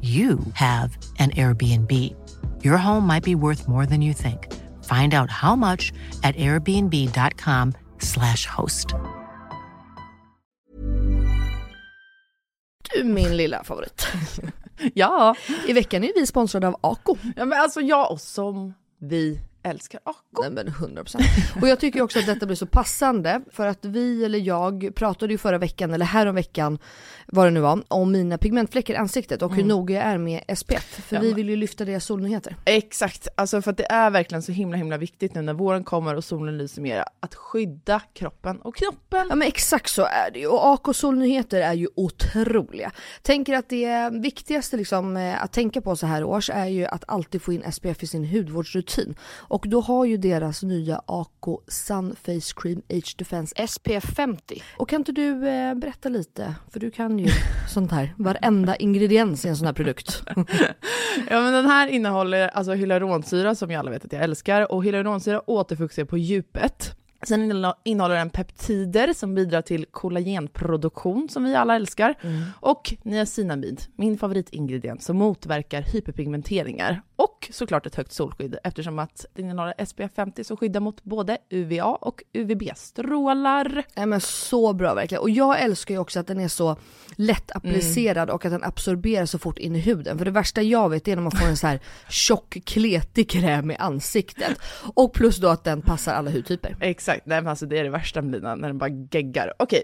you have an Airbnb. Your home might be worth more than you think. Find out how much at airbnb.com/slash host. Du min lilla favorit. Ja, I veckan är vi sponsrade av Ako. ja men alltså jag och som vi älskar Ako. Nej men 100%. Och jag tycker också att detta blir så passande för att vi eller jag pratade ju förra veckan eller häromveckan vad det nu var om mina pigmentfläckar i ansiktet och hur noga jag är med SPF. För Ja, vi men- vill ju lyfta deras solnyheter. Exakt, alltså för att det är verkligen så himla himla viktigt nu när våren kommer och solen lyser mer att skydda kroppen och knoppen. Ja men exakt så är det ju och AK Solnyheter är ju otroliga. Tänker att det viktigaste liksom eh, att tänka på så här års är ju att alltid få in SPF i sin hudvårdsrutin. Och då har ju deras nya AK Sun Face Cream Age Defense SPF 50. Och kan inte du eh, berätta lite, för du kan ju sånt här, varenda ingrediens i en sån här produkt. Ja men den här innehåller alltså hyaluronsyra som jag alla vet att jag älskar och hyaluronsyra återfuktar på djupet. Sen innehå- innehåller den peptider som bidrar till kollagenproduktion som vi alla älskar. Mm. Och niacinamid, min favoritingrediens, som motverkar hyperpigmenteringar. Och såklart ett högt solskydd eftersom att den innehåller SPF 50 som skyddar mot både UVA och UVB-strålar. Nej men så bra verkligen. Och jag älskar ju också att den är så lätt applicerad och att den absorberas så fort in i huden. För det värsta jag vet är när man får en så här tjock kletig kräm i ansiktet. Och plus då att den passar alla hudtyper. Exakt, nej men alltså det är det värsta med lina, när den bara geggar. Okej,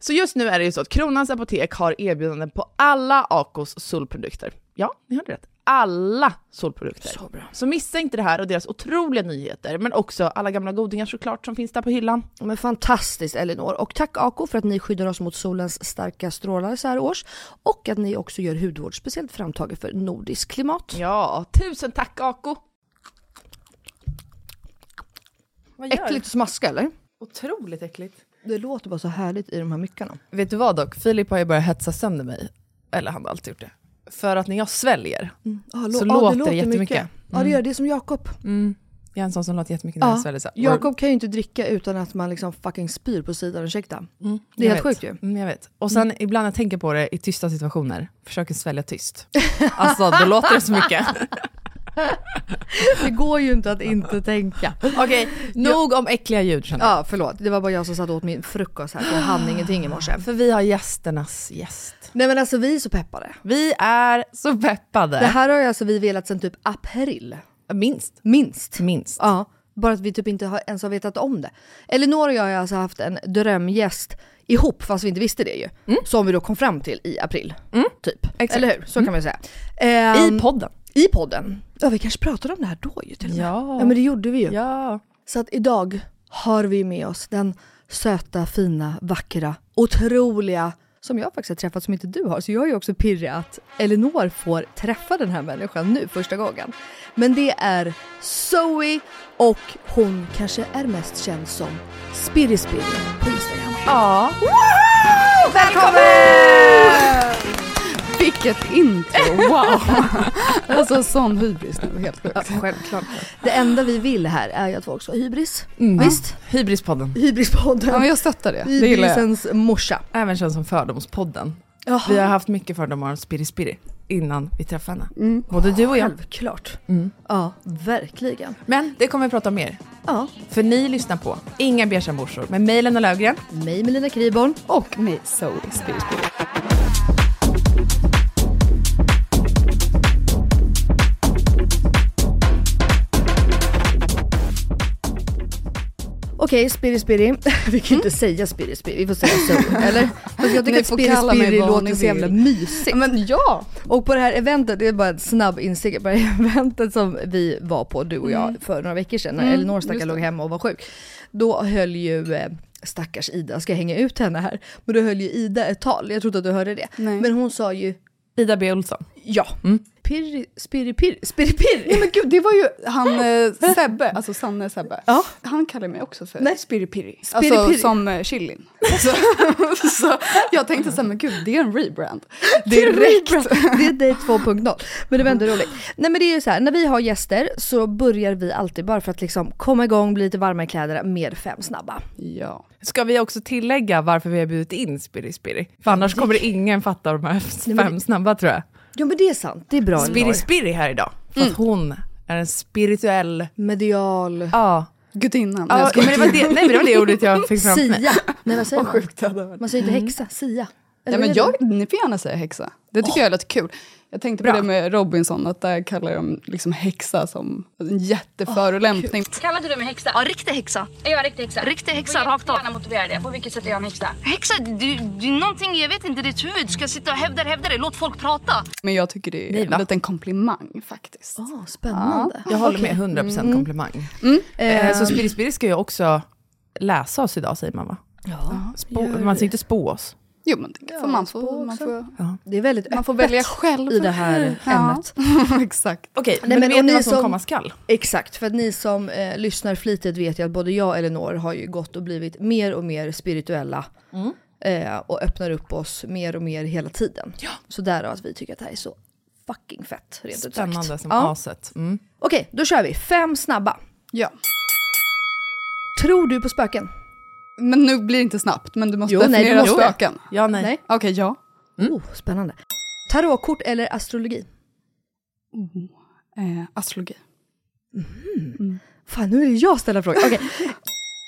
så just nu är det ju så att Kronans Apotek har erbjudanden på alla Acos solprodukter. Ja, ni hörde rätt. Alla solprodukter. Så bra. Så missa inte det här och deras otroliga nyheter, men också alla gamla godingar såklart som finns där på hyllan. Men fantastiskt Elinor. Och tack Ako för att ni skyddar oss mot solens starka strålar så här års. Och att ni också gör hudvård speciellt framtaget för nordiskt klimat. Ja, tusen tack Ako! Vad gör Äckligt att smaska eller? Otroligt äckligt. Det låter bara så härligt i de här myckarna. Vet du vad dock? Filip har ju börjat hetsa sönder mig. Eller han har alltid gjort det. För att när jag sväljer, Ah, Så ah, låter det jättemycket. Mm. mycket. Ja det gör det, det är som Jakob. jag är en sån som låter jättemycket när jag Ja, sväljer. så här. Jakob kan ju inte dricka utan att man liksom fucking spyr på sidan, ursäkta. det är Jag helt vet. sjukt ju. Mm, jag vet. Och sen ibland när jag tänker på det i tysta situationer, försöker svälja tyst. Alltså då låter det så mycket. Det går ju inte att inte tänka. Okej, nog om äckliga ljud känner jag. Ja förlåt, det var bara jag som satt och åt min frukost här för jag hann ingenting i morse. För vi har gästernas gäst. Nej men alltså vi är så peppade. Vi är så peppade. Det här har ju alltså vi velat sedan typ april. Minst. Minst. Minst. Ja, bara att vi typ inte har, ens har vetat om det. Elinor och jag har alltså haft en drömgäst ihop fast vi inte visste det ju. Som vi då kom fram till i april. Typ. Exakt. Eller hur? Så kan man ju säga. Ehm, I podden. I podden. Ja vi kanske pratade om det här då ju till och med. Ja. ja men det gjorde vi ju. Ja. Så att idag har vi med oss den söta, fina, vackra, otroliga som jag faktiskt har träffat som inte du har. Så jag är ju också pirrig att Elinor får träffa den här människan nu första gången. Men det är Zoe och hon kanske är mest känd som Spirrispirri på Instagram. ja. Välkommen! vilket intro, wow! alltså sån hybris nu, helt sjukt. Ja, självklart. Det enda vi vill här är ju att folk ska ha hybris. Mm. Visst? Hybrispodden. Hybrispodden. Ja men jag stöttar det, det gillar jag. Hybrisens morsa. Även känns som fördomspodden. Jaha. Vi har haft mycket fördomar om Spiri Spiri innan vi träffade henne. Mm. Både du och jag. Självklart. Mm. Ja, verkligen. Men det kommer vi prata om mer. Ja, För ni lyssnar på Inga beiga morsor med mig Lena Löfgren. mig Melina Kriborn. Och med Zoe Spirit. Okej, Spiri Spiri. Vi kan ju inte säga Spiri Spiri, vi får säga så. eller? Fast jag tycker Ni att Mm. får Spiri kalla mig Spiri vad låter ni så jävla vill. mysigt. Men ja! Och på det här eventet, det är bara en snabb insikt, på det här eventet som vi var på du och Mm. jag för några veckor sedan när Elinor stackars låg hemma och var sjuk. Då höll ju eh, stackars Ida, ska jag hänga ut henne här? Men då höll ju Ida ett tal, jag trodde att du hörde det. Nej. Men hon sa ju Ida B Olsson. ja. Pirri, spirri, pirri, spirri, pirri. Nej Mm. men gud, det var ju han eh, Sebbe, alltså Sanne Sebbe. Ja. Han kallar mig också för Nej. Spiripiri. Spiri Alltså Pirri. som eh, chilin. Så, så jag tänkte så här, men gud det är en rebrand. Direkt! Det är dig 2.0. Men det var Mm. ändå roligt. Nej men det är ju så här, när vi har gäster så börjar vi alltid bara för att liksom komma igång, bli lite varma i kläderna med fem snabba. Ja. Ska vi också tillägga varför vi har bjudit in Spiri Spiri? För annars kommer det ingen fatta de här fem snabba tror jag. Jo men det är sant, det är bra Spiri Elinor. Spiri här idag. För att hon är en spirituell... Medial. Ja. Gudinnan. ja men det var det, nej men det var det ordet jag fick framför mig. Sia! Nej vad säger Vad man? sjukt det hade varit. Man säger Mm. inte häxa, sia. Ja, Eller men vad heter jag, ni får gärna säga häxa. Det tycker jag låter kul. Jag tänkte på det med Robinson, att där kallar de liksom häxa som en jätteförolämpning. Kallade du mig häxa? Ja, riktig häxa. Är jag en riktig häxa? Riktig häxa, rakt av. motivera det. På vilket sätt är jag en häxa? Häxa, du, du, någonting, jag vet inte, ditt huvud. Du ska sitta och hävda det, hävda det. Låt folk prata. Men jag tycker det är Nej, va? en liten komplimang faktiskt. det? Ah, spännande. Jag håller med, 100% komplimang. Mm. Eh, så Spiri Spiri ska ju också läsa oss idag säger man va? Ja. Spå, man ska inte spå oss. Jo men det får man, få, man, får, Det är väldigt man får öppet välja själv. i det här Ja. ämnet. Exakt. Okej, men men, men vet vet om ni ni vad vad som som- som komma komma skall? Exakt, för att ni som eh, lyssnar flitigt vet ju att både jag och Elinor har ju gått och blivit mer och mer spirituella. Mm. Eh, och öppnar upp oss mer och mer hela tiden. Ja. Så därav att vi tycker att det här är så fucking fett, rent ut sagt. Spännande som Ja. aset. Mm. Okej, då kör vi. Fem snabba. Ja. Tror du på spöken? Men nu blir det inte snabbt, men du måste Jo, nej, du definiera måste. spöken. Ja, nej. Nej. Okej, ja. Oh, spännande. Tarotkort eller astrologi? Eh, astrologi. Fan, nu är det jag som ställer frågan. Okej.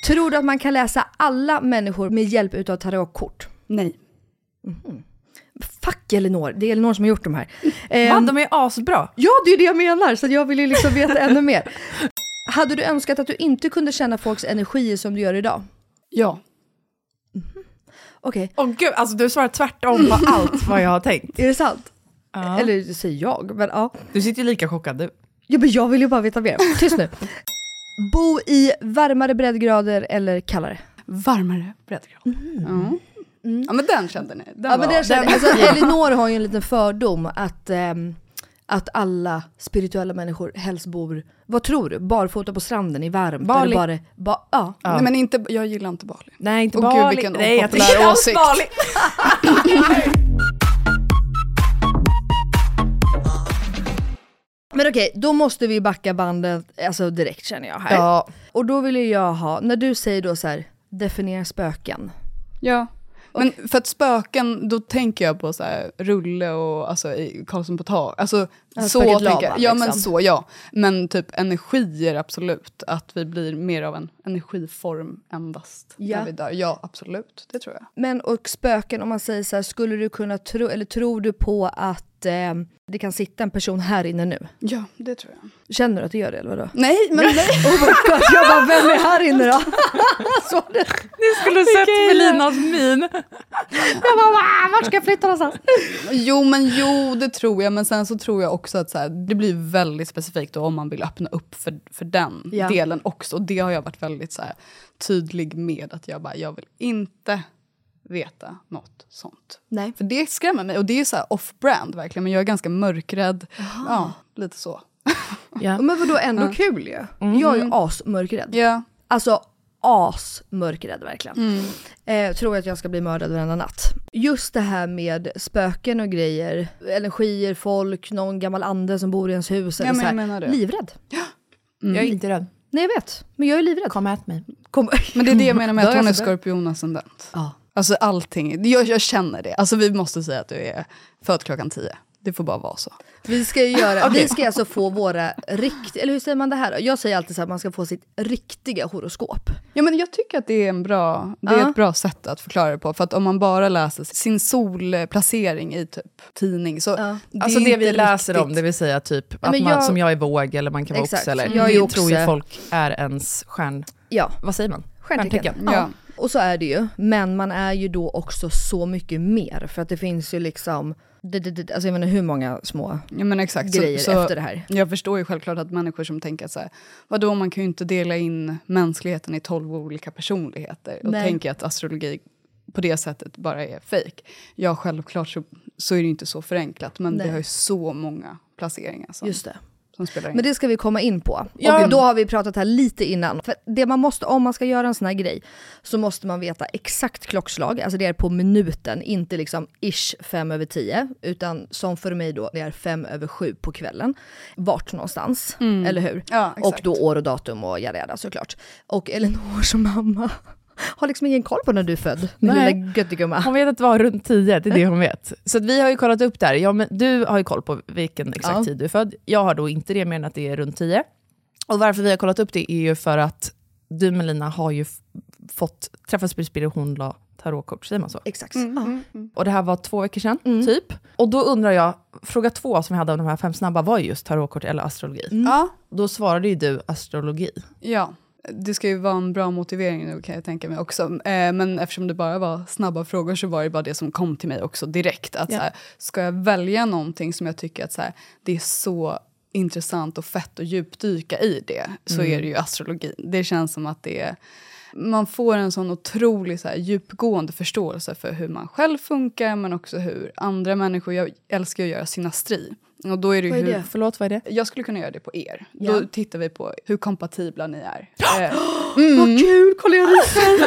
Tror du att man kan läsa alla människor med hjälp utav tarotkort? Nej. Fuck Elinor, det är Elinor som har gjort de här. Va, Ehm, Eh, de är ju asbra. ja, det är ju det jag menar, så att jag vill ju liksom veta ännu mer. Hade du önskat att du inte kunde känna folks energier som du gör idag? Ja. Okej, Åh gud, alltså du svarar tvärtom på allt vad jag har tänkt. är det sant? Ja. Eller det säger jag, men ja. Du sitter ju lika chockad du. ja men jag vill ju bara veta mer. Tyst nu. Bo i varmare breddgrader eller kallare? Varmare breddgrad. Ja. ja, men den kände ni. Den Mm. Ja, men var- det känner, alltså, Elinor har ju en liten fördom att, ehm, att alla spirituella människor helst bor, vad tror du, barfota på stranden i varmt? Bali. eller Bara, ba, ja. Nej, men inte, jag gillar inte Bali. Nej, inte Åh, gud, Bali. vilken nej, jag opopulär tycker- åsikt. Bali. Men okej, då måste vi backa bandet alltså direkt känner jag här. Ja, Och då vill ju jag ha, när du säger då så här, definiera spöken. Ja. Men för att spöken, då tänker jag på så här, Rulle och alltså, i Karlsson på tak. Alltså, så spöket tänker Laban, jag. Ja, men liksom. så ja. Men typ energier, absolut. Att vi blir mer av en energiform endast. Ja. När vi dör. Ja, absolut. Det tror jag. Men och spöken, om man säger så här, skulle du kunna tro, eller tror du på att ehm, det kan sitta en person här inne nu? Ja, det tror jag. Känner du att det gör det eller vadå? Nej, men nej. Oh my God, jag bara, vem är här inne då? Så det- du skulle sett Melinas min. Vart ska jag flytta någonstans? Jo, men jo, det tror jag. Men sen så tror jag också att så här, det blir väldigt specifikt då om man vill öppna upp för, för den Ja. delen också. Och det har jag varit väldigt så här, tydlig med. Att jag bara, jag vill inte veta något sånt. Nej. För det skrämmer mig. Och det är så här off-brand verkligen. Men jag är ganska mörkrädd. Ja, lite så. Men vadå, ändå kul ju. Jag är ju asmörkrädd. Ja. Alltså asmörkrädd verkligen. Eh, tror att jag ska bli mördad varenda natt. Just det här med spöken och grejer, energier, folk, någon gammal ande som bor i ens hus. Eller men så här. jag menar det. Livrädd. Mm. Jag är inte rädd. Nej jag vet, men jag är livrädd. Kom ät mig. Kom. Men det är det jag menar med Då att är hon är jag så bra. skorpionascendent. Ja. Alltså allting, jag, jag känner det. Alltså vi måste säga att du är född klockan tio. Det får bara vara så. Vi ska ju göra, vi ska alltså få våra riktiga, eller hur säger man det här då? Jag säger alltid så att man ska få sitt riktiga horoskop. Ja, men jag tycker att det är, en bra, det är Ja. ett bra sätt att förklara det på. För att om man bara läser sin solplacering i typ tidning så... Ja. är Alltså det inte vi läser riktigt- om, det vill säga typ att men man, jag- som jag är våg eller man kan vara Exakt, oxe. Eller, jag är det oxe. tror ju folk är ens stjärn... Ja, Vad säger man? stjärntecken. Ja. Ja. Och så är det ju, men man är ju då också så mycket mer för att det finns ju liksom, det, det, det, alltså jag menar hur många små Ja, men exakt. grejer efter det här. Jag förstår ju självklart att människor som tänker att så här, vadå, man kan ju inte dela in mänskligheten i tolv olika personligheter och Nej. tänker att astrologi på det sättet bara är fejk. Ja, självklart så, så är det ju inte så förenklat, men Nej. vi har ju så många placeringar som, Just det. som spelar in. Men det ska vi komma in på. Ja. Och då har vi pratat här lite innan. För det man måste, om man ska göra en sån här grej så måste man veta exakt klockslag, alltså det är på minuten, inte liksom ish fem över tio, utan som för mig då, det är fem över sju på kvällen. Vart någonstans, Mm. eller hur? Ja, exakt. och då år och datum och jada jada såklart. Och Elinor som mamma har liksom ingen koll på när du är född, din Nej. lilla göttegumma. Hon vet att det var runt 10, det är det hon vet. Så att vi har ju kollat upp där. Ja, men du har ju koll på vilken exakt Ja. tid du är född. Jag har då inte det, mer än att det är runt 10. Och varför vi har kollat upp det är ju för att du Melina har ju f- fått träffa Spirit hon la tarotkort, säger man så? Exakt. Mm, Och det här var två veckor sedan, Mm. typ. Och då undrar jag, fråga två som vi hade av de här fem snabba var ju just tarotkort eller astrologi. ja, Då svarade ju du astrologi. Mm. ja. Det ska ju vara en bra motivering nu kan jag tänka mig också. Eh, men eftersom det bara var snabba frågor så var det bara det som kom till mig också direkt. Att så här, ska jag välja någonting som jag tycker att så här, det är så intressant och fett att djupdyka i det så Mm. är det ju astrologin. Det känns som att det är man får en sån otrolig så här, djupgående förståelse för hur man själv funkar men också hur andra människor, jag älskar ju att göra synastri. Och då är det ju Vad är hur, det? Förlåt, vad är det? jag skulle kunna göra det på er. Ja. Då tittar vi på hur kompatibla ni är. Eh, mm. Vad kul, kolla jag ryser!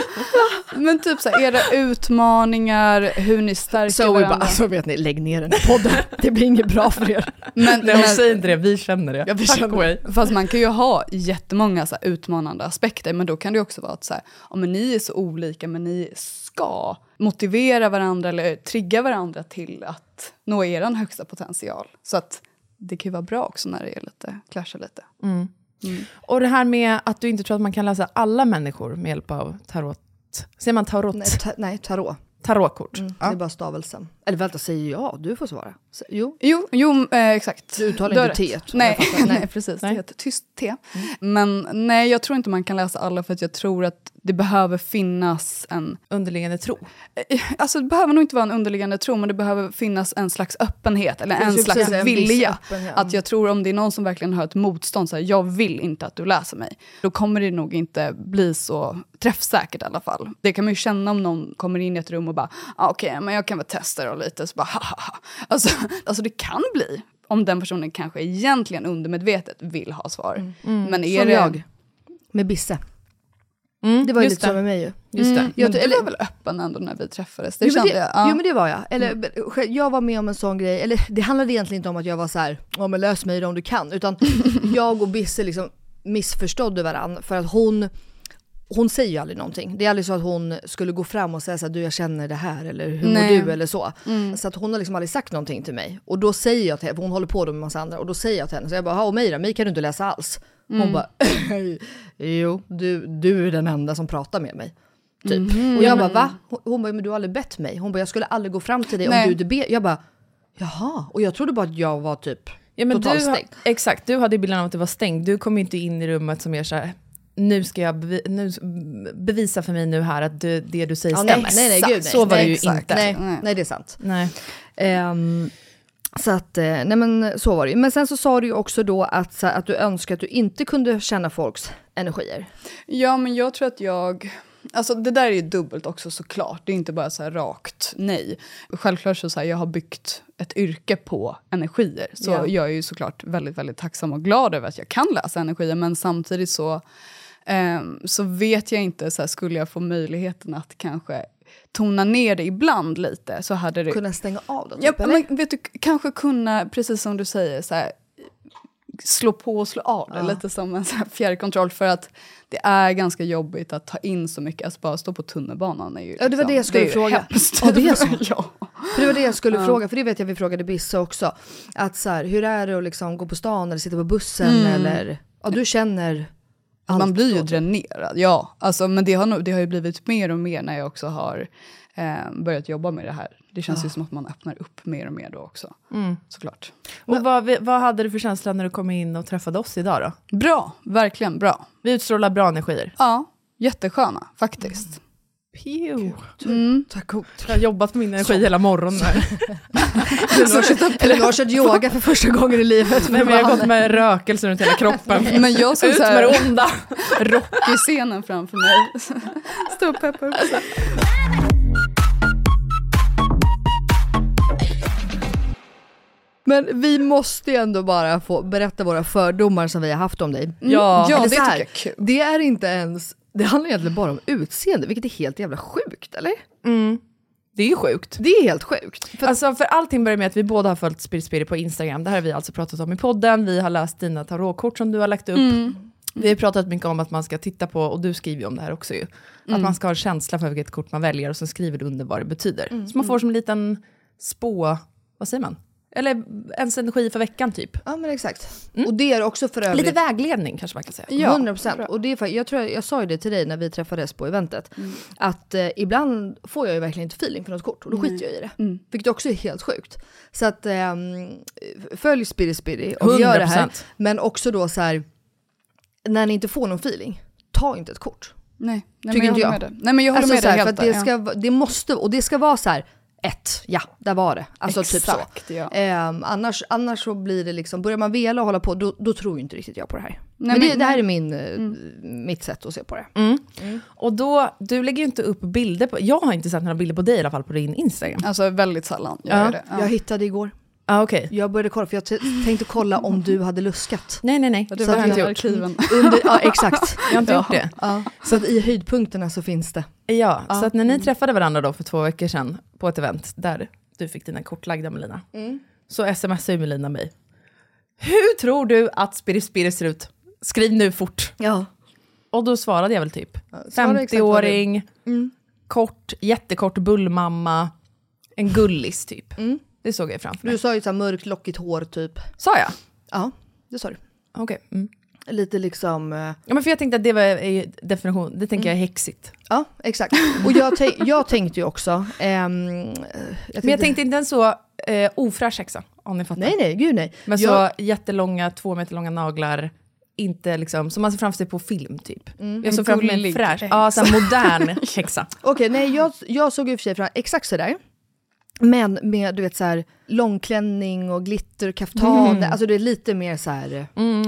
men typ så här, era utmaningar, hur ni stärker Så vi bara, varandra. alltså vet ni, lägg ner den här podden, det blir inget bra för er. men, Nej, hon men, säger inte det, vi känner det. Ja, vi Fuck känner det. away. fast man kan ju ha jättemånga så här, utmanande aspekter, men då kan det ju också vara att så här, ja, men ni är så olika, men ni ska motivera varandra eller trigga varandra till att nå er högsta potential. Så att det kan ju vara bra också när det är lite, clashar lite. Mm. Mm. Och det här med att du inte tror att man kan läsa alla människor med hjälp av tarot. Säger man tarot? Nej, Mm. ta- nej tarot. Tarotkort. Det är bara stavelsen. Eller vänta, säger jag? Du får svara. Så, jo. Jo, jo eh, exakt. Du uttalar Du har inte rätt. teet, om Nej, jag fattar. Nej. Mm. nej precis. Nej. Det heter tyst te. Men nej, jag tror inte man kan läsa alla för att jag tror att det behöver finnas en... Underliggande tro. Alltså det behöver nog inte vara en underliggande tro, men det behöver finnas en slags öppenhet eller Jag en skulle slags precis säga en viss vilja. öppenhet. Att jag tror om det är någon som verkligen har ett motstånd, så här, jag vill inte att du läser mig, då kommer det nog inte bli så träffsäkert i alla fall. Det kan man ju känna om någon kommer in i ett rum och bara, ah, okej, men jag kan väl testa det lite, så bara, hahaha. Alltså, alltså det kan bli, om den personen kanske egentligen undermedvetet vill ha svar. Men är Mm. Som det, jag. Med Bisse. det var ju Mm, just lite så det. med mig ju. Just det. Jag, men du eller, var väl öppen ändå när vi träffades? Det jo, men kände det, jag. Ja. Mm. jo men det var jag. Eller, men, jag var med om en sån grej, eller det handlade egentligen inte om att jag var så här, ja men lös mig då om du kan. Utan jag och Bisse liksom missförstådde varandra för att hon, hon säger ju aldrig någonting. Det är aldrig så att hon skulle gå fram och säga så här, du jag känner det här eller hur Nej. mår du eller så. Så att hon har liksom aldrig sagt någonting till mig. Och då säger jag till henne, för hon håller på då med massa andra, och då säger jag till henne, så jag bara, "Ha, och mig då, mig kan du inte läsa alls. Hon bara, jo du, du är den enda som pratar med mig. Typ. Och jag bara va? Hon- Hon bara, men du har aldrig bett mig. Hon bara, jag skulle aldrig gå fram till dig om Nej. du inte ber. Jag bara, jaha. Och jag trodde bara att jag var typ Ja, men du totalt har, stängd. exakt, du hade ju bilden av att det var stängt. Du kom ju inte in i rummet som är så här, nu ska jag bevi, nu, s- bevisa för mig nu här att du, det du säger Ja, nej, stämmer. nej, nej, gud, nej. Så var det ju Exakt. inte. Nej, Nej. nej, det är sant. Nej. Ehm, så att, eh, nej men så var det ju. Men sen så sa du ju också då att, så här, att du önskar att du inte kunde känna folks energier. Ja, men jag tror att jag... Alltså det där är ju dubbelt också såklart, det är inte bara så här rakt nej. Självklart så, så här, jag har byggt ett yrke på energier, så Ja. jag är ju såklart väldigt, väldigt tacksam och glad över att jag kan läsa energier, men samtidigt så Ehm, så vet jag inte, så här, skulle jag få möjligheten att kanske tona ner det ibland lite så hade det... Kunna stänga av den ja, typ, eller? men, vet du, kanske kunna, precis som du säger, så här, slå på och slå av det, lite som en så här fjärrkontroll för att det är ganska jobbigt att ta in så mycket, alltså bara stå på tunnelbanan är ju liksom- Ja, det var det jag skulle är ju fråga. hemskt. Ja, det är så. ja. För det var det jag skulle fråga, för det vet jag vi frågade Bisse också. Att så här, hur är det att liksom gå på stan eller sitta på bussen eller... Ja, du känner allt Mm. man blir ju då. dränerad, ja. Alltså, men det har, nog, det har ju blivit mer och mer när jag också har eh, börjat jobba med det här. Det känns ju som att man öppnar upp mer och mer då också, Mm. såklart. Och vad, vi- vad hade du för känsla när du kom in och träffade oss idag då? Bra, verkligen bra. Vi utstrålar bra energier. Ja, jättesköna faktiskt. Mm. Pew. Mm. Tack god. Jag har jobbat med min energi hela morgonen. här. Alltså, Eller nu har kört yoga för första gången i livet. Nej, men jag har gått med rökelse runt hela kroppen. Men jag som Ut så med här, det onda! rock i scenen framför mig. Alltså, Står och peppar upp så här. Men vi måste ju ändå bara få berätta våra fördomar som vi har haft om dig. Ja, Eller det så tycker jag här, är kul. Det är inte ens, det handlar egentligen bara om utseende, vilket är helt jävla sjukt, eller? Mm. Det är ju sjukt. Det är helt sjukt. För, Alltså för allting börjar med att vi båda har följt Spirispiri på Instagram. Det här har vi alltså pratat om i podden. Vi har läst dina tarotkort som du har lagt upp. Vi har pratat mycket om att man ska titta på, och du skriver ju om det här också ju, att man ska ha en känsla för vilket kort man väljer och så skriver du under vad det betyder. Så man får som en liten spå, vad säger man? Eller ens energi för veckan typ. ja men exakt. Och det är också för övrigt... Lite vägledning kanske man kan säga. Ja, 100 procent. Och det är, fa- jag, tror, jag sa ju det till dig när vi träffades på eventet, att eh, ibland får jag ju verkligen inte feeling för något kort och då skiter jag i det. Vilket också är helt sjukt. Så att ehm, följ Spiri Spiri och gör det här. 100%. Men också då så här, när ni inte får någon feeling, ta inte ett kort. Nej, nej Tycker men jag inte håller jag. med dig. Nej men jag håller Alltså med så dig här, för helt att det, där, ska, va- det måste, och det ska vara så här, ett, ja, där var det. Alltså typ Exakt, så. ja. Ehm, annars, annars så blir det liksom, börjar man vela och hålla på, då, då tror ju inte riktigt jag på det här. men det, men- Mm. det här är min, eh, mitt sätt att se på det. Mm. Och då, du lägger ju inte upp bilder på, jag har inte sett några bilder på dig i alla fall på din Instagram. ja. Alltså väldigt sällan gör Ja. jag det. Jag Ja. hittade igår. Ah, okej. Jag började kolla, för jag t- tänkte kolla om du hade luskat. Nej, nej, nej. Du Så var att inte i jag- arkiven. Under, ja, exakt. Jag har inte gjort det. Ja. Så att i höjdpunkterna så finns det. Ja, så att när ni träffade varandra då för två veckor sedan på ett event där du fick dina kort lagda Melina, så smsade ju Melina mig. Hur tror du att Spirit Spirit ser ut? Skriv nu fort. Ja. Och då svarade jag väl typ svara exakt vad du- 50-åring, Mm. kort, jättekort bullmamma, en gullis typ. Det såg jag framför mig. Du sa ju såhär mörkt lockigt hår typ. Sa jag? Ja, det sa du. Okej. Mm. Lite liksom... eh, Ja, men för jag tänkte att det var är ju definition, det tänker jag är häxigt. Ja, exakt. Och jag, tänk- jag tänkte ju också... ehm, eh, jag tänkte, Men jag tänkte inte en så eh, ofräsch häxa, om ni fattar. Nej, nej, gud nej. Men så jag, jättelånga, två meter långa naglar, inte liksom, som man ser framför sig på film typ. jag såg en framför mig en gullig fräsch, ja, så här modern häxa. Okej, nej jag, jag såg i och för sig fram exakt sådär. Men med du vet såhär långklänning och glitter, kaftan, Mm. alltså det är lite mer såhär...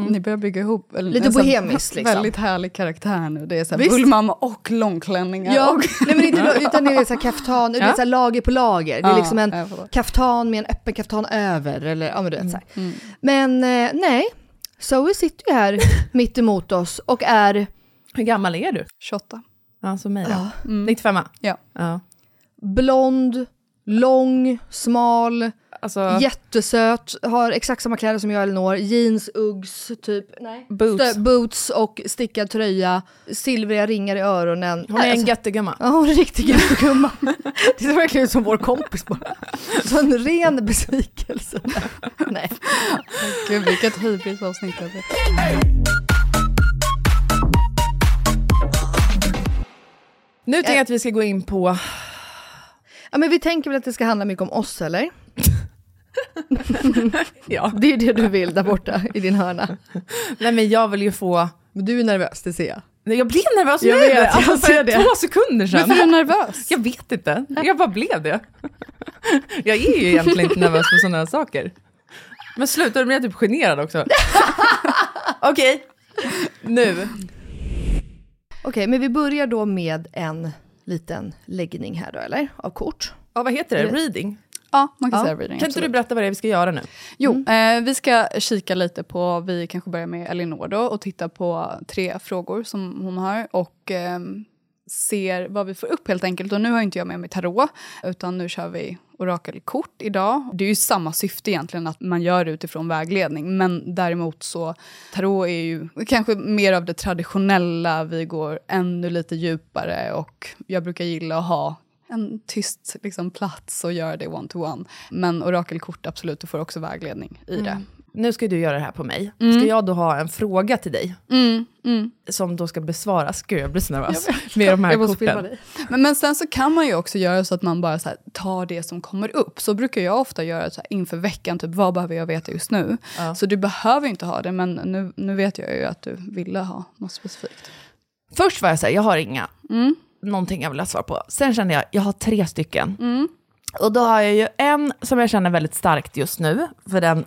Ni börjar bygga ihop eller, Lite en sån bohemiskt, liksom. Väldigt härlig karaktär nu. Det är så här, Visst. bullmamma och långklänningar. Ja, Och, nej men inte, utan det är så här kaftan, det är så här lager på lager. Det är Ja, liksom en jag fattar. kaftan med en öppen kaftan över. Eller, ja, men, du vet, så här. Mm. men eh, nej, Zoe sitter ju här mitt emot oss och är Hur gammal är du? 28. Ja, som mig då. Mm. 95 Ja. ja. blond, lång, smal, Alltså, jättesöt, har exakt samma kläder som jag och Elinor, jeans, Uggs, typ. Nej. Boots. Stö- boots och stickad tröja, silvriga ringar i öronen. hon är en Alltså, göttegumma. Ja, hon är en riktig gumma. Det ser verkligen ut som vår kompis bara. Så en ren besvikelse. Nej. Gud, vilket hybrisavsnitt det blir. Nu tänker jag att vi ska gå in på, Ja, men vi tänker väl att det ska handla mycket om oss, eller? ja. Det är ju det du vill där borta i din hörna. nej men jag vill ju få, Men du är nervös, det ser jag. nej, jag blev nervös Jag nu! vet, jag alltså, ser för det. två sekunder sedan. Varför är du nervös? Jag vet inte, jag bara blev det. Jag är ju egentligen inte nervös för sådana här saker. Men sluta, nu blir jag typ generad också. Okej, nu. Okej, men vi börjar då med en liten läggning här då, eller? Av kort. Ja, vad heter det? Reading? Ja, man kan Ja. säga reading. Kan inte absolut. du berätta vad det är vi ska göra nu? Jo, eh, vi ska kika lite på, vi kanske börjar med Elinor då och titta på tre frågor som hon har och ehm, ser vad vi får upp helt enkelt. Och nu har inte jag med mig tarot utan nu kör vi orakelkort idag. Det är ju samma syfte egentligen att man gör det utifrån vägledning men däremot så tarot är ju kanske mer av det traditionella, vi går ännu lite djupare och jag brukar gilla att ha en tyst liksom, plats och göra det one-to-one. Men orakelkort, absolut, du får också vägledning i det. Nu ska du göra det här på mig. Mm. Ska jag då ha en fråga till dig? Som då ska besvaras. Gud, jag blir så nervös med de här Jag måste filma korten. dig. Men, men sen så kan man ju också göra så att man bara så här, tar det som kommer upp. Så brukar jag ofta göra så här, inför veckan, typ vad behöver jag veta just nu? Så du behöver ju inte ha det, men nu, nu vet jag ju att du ville ha något specifikt. Mm, Först var jag så här, jag har inga, någonting jag vill ha svar på. Sen kände jag, jag har tre stycken. Mm. Och då har jag ju en som jag känner väldigt starkt just nu, för den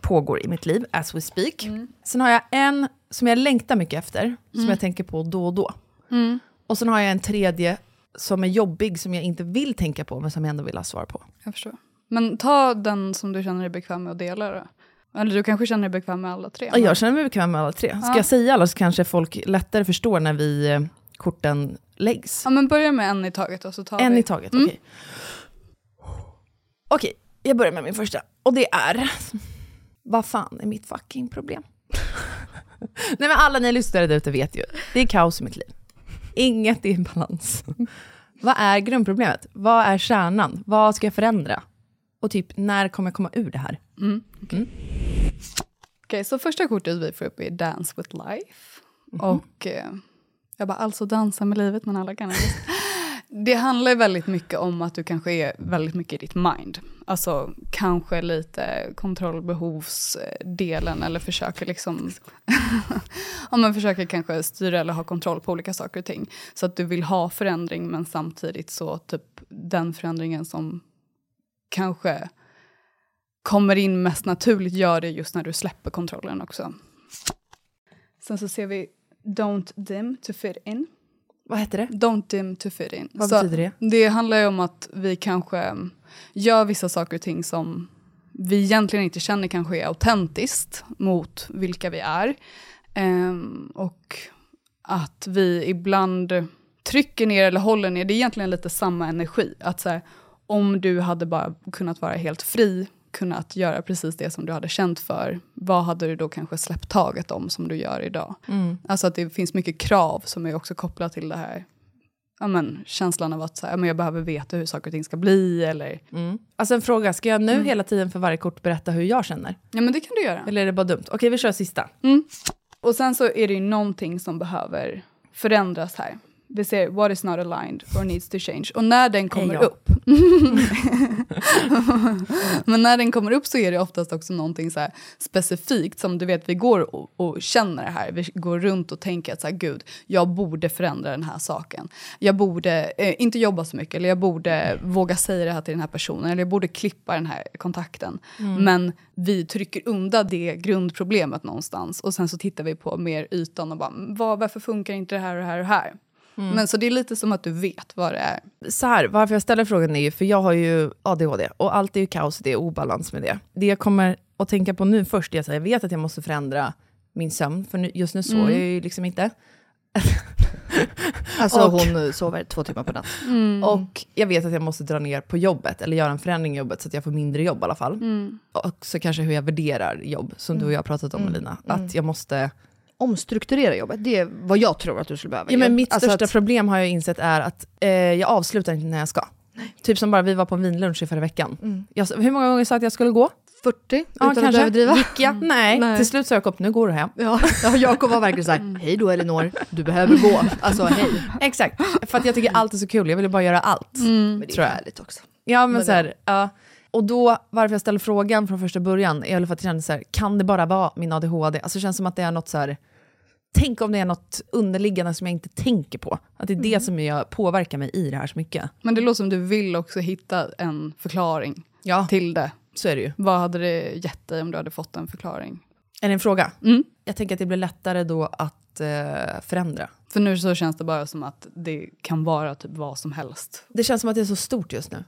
pågår i mitt liv as we speak. Mm. Sen har jag en som jag längtar mycket efter, som jag tänker på då och då. mm. Och sen har jag en tredje som är jobbig, som jag inte vill tänka på, men som jag ändå vill ha svar på. Jag förstår. Men ta den som du känner dig bekväm med att dela då. Eller du kanske känner dig bekväm med alla tre? Ja, Jag känner mig bekväm med alla tre. Ska jag säga alla så kanske folk lättare förstår när vi eh, korten läggs. Ja, men börja med en i taget och så tar En vi... Mm. i taget, okej. Okej, jag börjar med min första. Och det är... Vad fan är mitt fucking problem? Nej men alla ni lyssnare där ute vet ju. Det är kaos i mitt liv. Inget är i balans. Vad är grundproblemet? Vad är kärnan? Vad ska jag förändra? Och typ, när kommer jag komma ur det här? Mm. Mm. Okej, så första kortet vi får upp är Dance with life. Mm-hmm. Och eh, jag bara, alltså dansa med livet men alla kan inte. Det handlar väldigt mycket om att du kanske är väldigt mycket i ditt mind. Alltså kanske lite kontrollbehovsdelen eller försöker liksom... om man försöker kanske styra eller ha kontroll på olika saker och ting. Så att du vill ha förändring men samtidigt så typ den förändringen som kanske kommer in mest naturligt gör det just när du släpper kontrollen också. Sen så ser vi Don't dim to fit in. Vad heter det? Don't dim to fit in. Vad så betyder det? Det handlar ju om att vi kanske mm, gör vissa saker och ting som vi egentligen inte känner kanske är autentiskt mot vilka vi är. Ehm, och att vi ibland trycker ner eller håller ner, det är egentligen lite samma energi. Att så här, om du hade bara kunnat vara helt fri, kunnat göra precis det som du hade känt för, vad hade du då kanske släppt taget om som du gör idag? Alltså att det finns mycket krav som är också kopplat till det här ja, men, känslan av att så här, ja, men jag behöver veta hur saker och ting ska bli. Eller, Alltså en fråga, ska jag nu hela tiden för varje kort berätta hur jag känner? Mm. Ja men det kan du göra. Eller är det bara dumt? Okej, vi kör sista. Och sen så är det ju någonting som behöver förändras här. Vi ser what is not aligned or needs to change. Och när den kommer jag. upp. Men när den kommer upp så är det oftast också någonting så här specifikt som du vet vi går och, och känner det här. Vi går runt och tänker att så här, gud, jag borde förändra den här saken. Jag borde eh, inte jobba så mycket eller jag borde våga säga det här till den här personen eller jag borde klippa den här kontakten. Men vi trycker undan det grundproblemet någonstans och sen så tittar vi på mer ytan och bara "Mm, vad, varför funkar inte det här och det här och det här? Men så det är lite som att du vet vad det är. så här, varför jag ställer frågan är ju, för jag har ju ADHD och allt är ju kaos, det är obalans med det. Det jag kommer att tänka på nu först är att jag vet att jag måste förändra min sömn, för nu, just nu sover jag ju liksom inte. Alltså Och- hon eh, sover två timmar per natt. Mm. Och jag vet att jag måste dra ner på jobbet, eller göra en förändring i jobbet så att jag får mindre jobb i alla fall. Mm. Och så kanske hur jag värderar jobb, som du och jag har pratat om Elina. Att jag måste... Omstrukturera jobbet, det är vad jag tror att du skulle behöva. Ja, men mitt Alltså största att- problem har jag insett är att eh, jag avslutar inte när jag ska. Typ som bara vi var på en vinlunch i förra veckan. Jag, hur många gånger sa jag att jag skulle gå? 40, Mm, utan att du överdriva. Gick jag? Mm. Nej. Nej. till slut sa jag upp, nu går du hem. Ja, ja, Jakob var verkligen Mm. såhär, hej då Elinor, du behöver gå. Alltså hej. Exakt, för att jag tycker allt är så kul, jag vill bara göra allt. Men det är Tror jag. härligt också. Ja, Mm. men så här, ja. Och då, varför jag ställde frågan från första början, är väl för att jag kände så här, kan det bara vara min ADHD? Alltså det känns som att det är något så här, tänk om det är något underliggande som jag inte tänker på. Att det är det som jag påverkar mig i det här så mycket. Men det låter som du vill också hitta en förklaring Ja, till det. så är det ju. Vad hade det gett dig om du hade fått en förklaring? Mm. Är det en fråga? Jag tänker att det blir lättare då att eh, förändra. För nu så känns det bara som att det kan vara typ vad som helst. Mm. Det känns som att det är så stort just nu.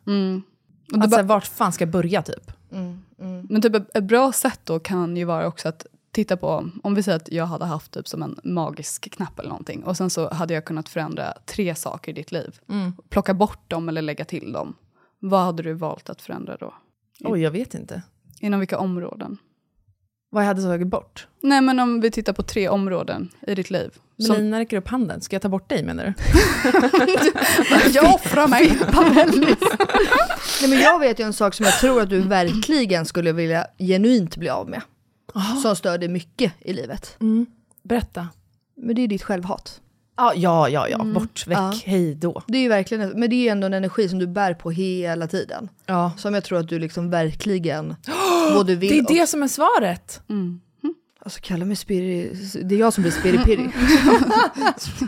Och det bara- Att, så här, vart fan ska jag börja typ? Mm, Men typ ett, ett bra sätt då kan ju vara också att titta på, om vi säger att jag hade haft typ som en magisk knapp eller någonting och sen så hade jag kunnat förändra tre saker i ditt liv. Mm. Plocka bort dem eller lägga till dem. Vad hade du valt att förändra då? Oj, jag vet inte. Inom vilka områden? Vad jag hade tagit bort? Nej men om vi tittar på tre områden i ditt liv. Melina Som, räcker upp handen, ska jag ta bort dig menar du? jag offrar mig! Nej, men jag vet ju en sak som jag tror att du verkligen skulle vilja genuint bli av med. Som stör dig mycket i livet. Mm. Berätta. Men det är ju ditt självhat. Ja, ja, ja, Mm. ja. bort, väck, Ja. hej då. Det är ju verkligen, men det är ju ändå en energi som du bär på hela tiden. Ja. Som jag tror att du liksom verkligen både vill Det är och... det som är svaret. Mm. Alltså kalla mig spiri... Det är jag som blir spiripirri.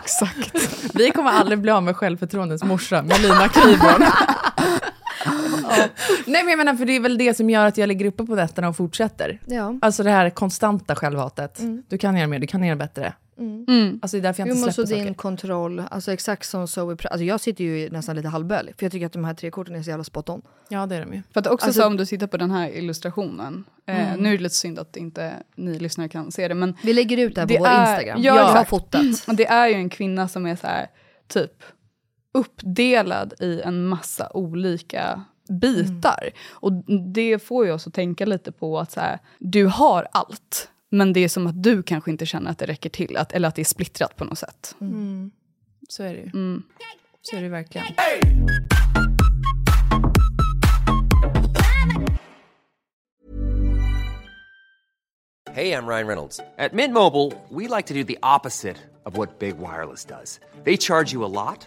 Exakt. Vi kommer aldrig bli av med självförtroendets morsa, Melina Kviborn. Nej men jag menar, för det är väl det som gör att jag ligger uppe på nätterna och fortsätter. Ja. Alltså det här konstanta självhatet. Du kan göra mer, du kan göra bättre. Alltså det är därför jag Jo, inte men så släpper saker. din kontroll, alltså exakt som Zoe... pra- Alltså jag sitter ju nästan lite halvbölig, för jag tycker att de här tre korten är så jävla spot on. Ja det är de ju. För att också Alltså- så om du tittar på den här illustrationen, eh, nu är det lite synd att inte ni lyssnare kan se det, men Vi lägger ut det här på Det vår är- Instagram. ja, jag har exakt. fotat. Och det är ju en kvinna som är så här, typ uppdelad i en massa olika bitar. Mm. Och det får ju oss att tänka lite på att så här, du har allt, men det är som att du kanske inte känner att det räcker till, att, eller att det är splittrat på något sätt. Så är det ju. Så är det verkligen. Hey, I'm Ryan Reynolds. At Mint Mobile, we like to do the opposite of what Big Wireless does. They charge you a lot,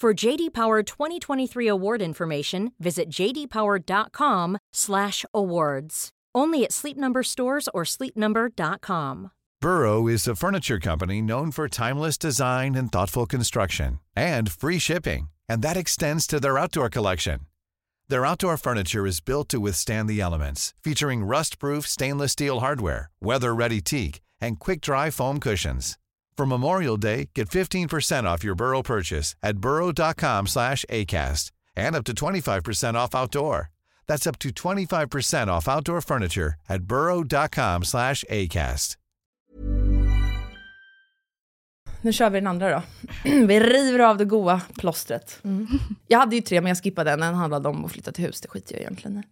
For JD Power 2023 award information, visit jdpower.com/awards. Only at Sleep Number stores or sleepnumber.com. Burrow is a furniture company known for timeless design and thoughtful construction and free shipping, and that extends to their outdoor collection. Their outdoor furniture is built to withstand the elements, featuring rust-proof stainless steel hardware, weather-ready teak, and quick-dry foam cushions. For Memorial Day, get 15% off your Burrow purchase at burrow.com/acast and up to 25% off outdoor. That's up to 25% off outdoor furniture at burrow.com/acast. Nu kör vi den andra då. Vi river av det goa plåstret. Mm. Jag hade ju tre, men jag skippade den. Den handlade om att flytta till hus, det skiter jag egentligen i.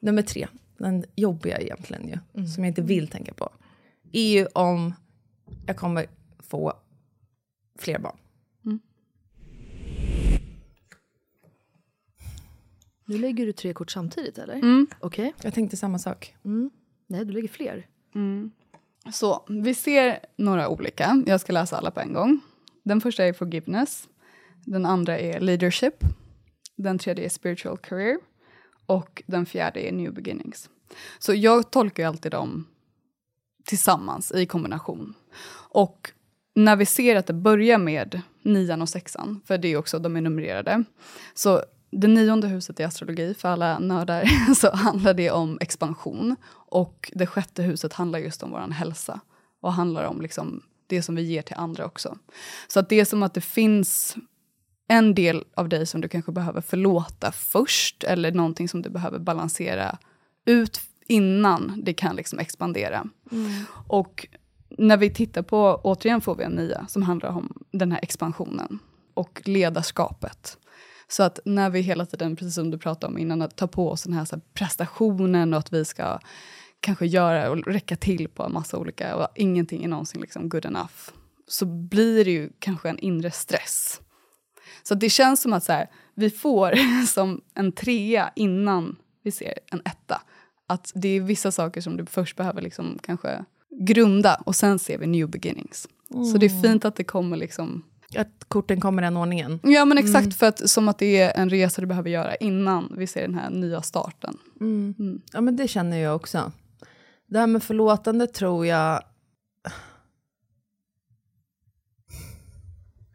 Nummer tre, den jobbiga egentligen ju, Mm. som jag inte vill tänka på, är ju om jag kommer få fler barn. Nu lägger du tre kort samtidigt eller? Okej. Jag tänkte samma sak. Nej, du lägger fler. Så vi ser några olika, jag ska läsa alla på en gång. Den första är forgiveness, den andra är leadership, den tredje är spiritual career och den fjärde är new beginnings. Så jag tolkar ju alltid dem tillsammans i kombination. Och när vi ser att det börjar med nian och sexan, för det är också, de är numrerade. Så det nionde huset i astrologi, för alla nördar, så handlar det om expansion. Och det sjätte huset handlar just om vår hälsa och handlar om liksom det som vi ger till andra också. Så att det är som att det finns en del av dig som du kanske behöver förlåta först eller någonting som du behöver balansera ut innan det kan liksom expandera. Och när vi tittar på, återigen får vi en nia som handlar om den här expansionen och ledarskapet. Så att när vi hela tiden, precis som du pratade om innan, att ta på oss den här, så här prestationen och att vi ska kanske göra och räcka till på en massa olika och ingenting är någonsin liksom good enough. så blir det ju kanske en inre stress. Så det känns som att så här, vi får som en trea innan vi ser en etta. Att det är vissa saker som du först behöver liksom kanske grunda och sen ser vi new beginnings. Så Mm. det är fint att det kommer liksom... Att korten kommer i den ordningen. Ja men exakt, Mm. för att, som att det är en resa du behöver göra innan vi ser den här nya starten. Mm. Ja, men det känner jag också. Det här med förlåtande tror jag...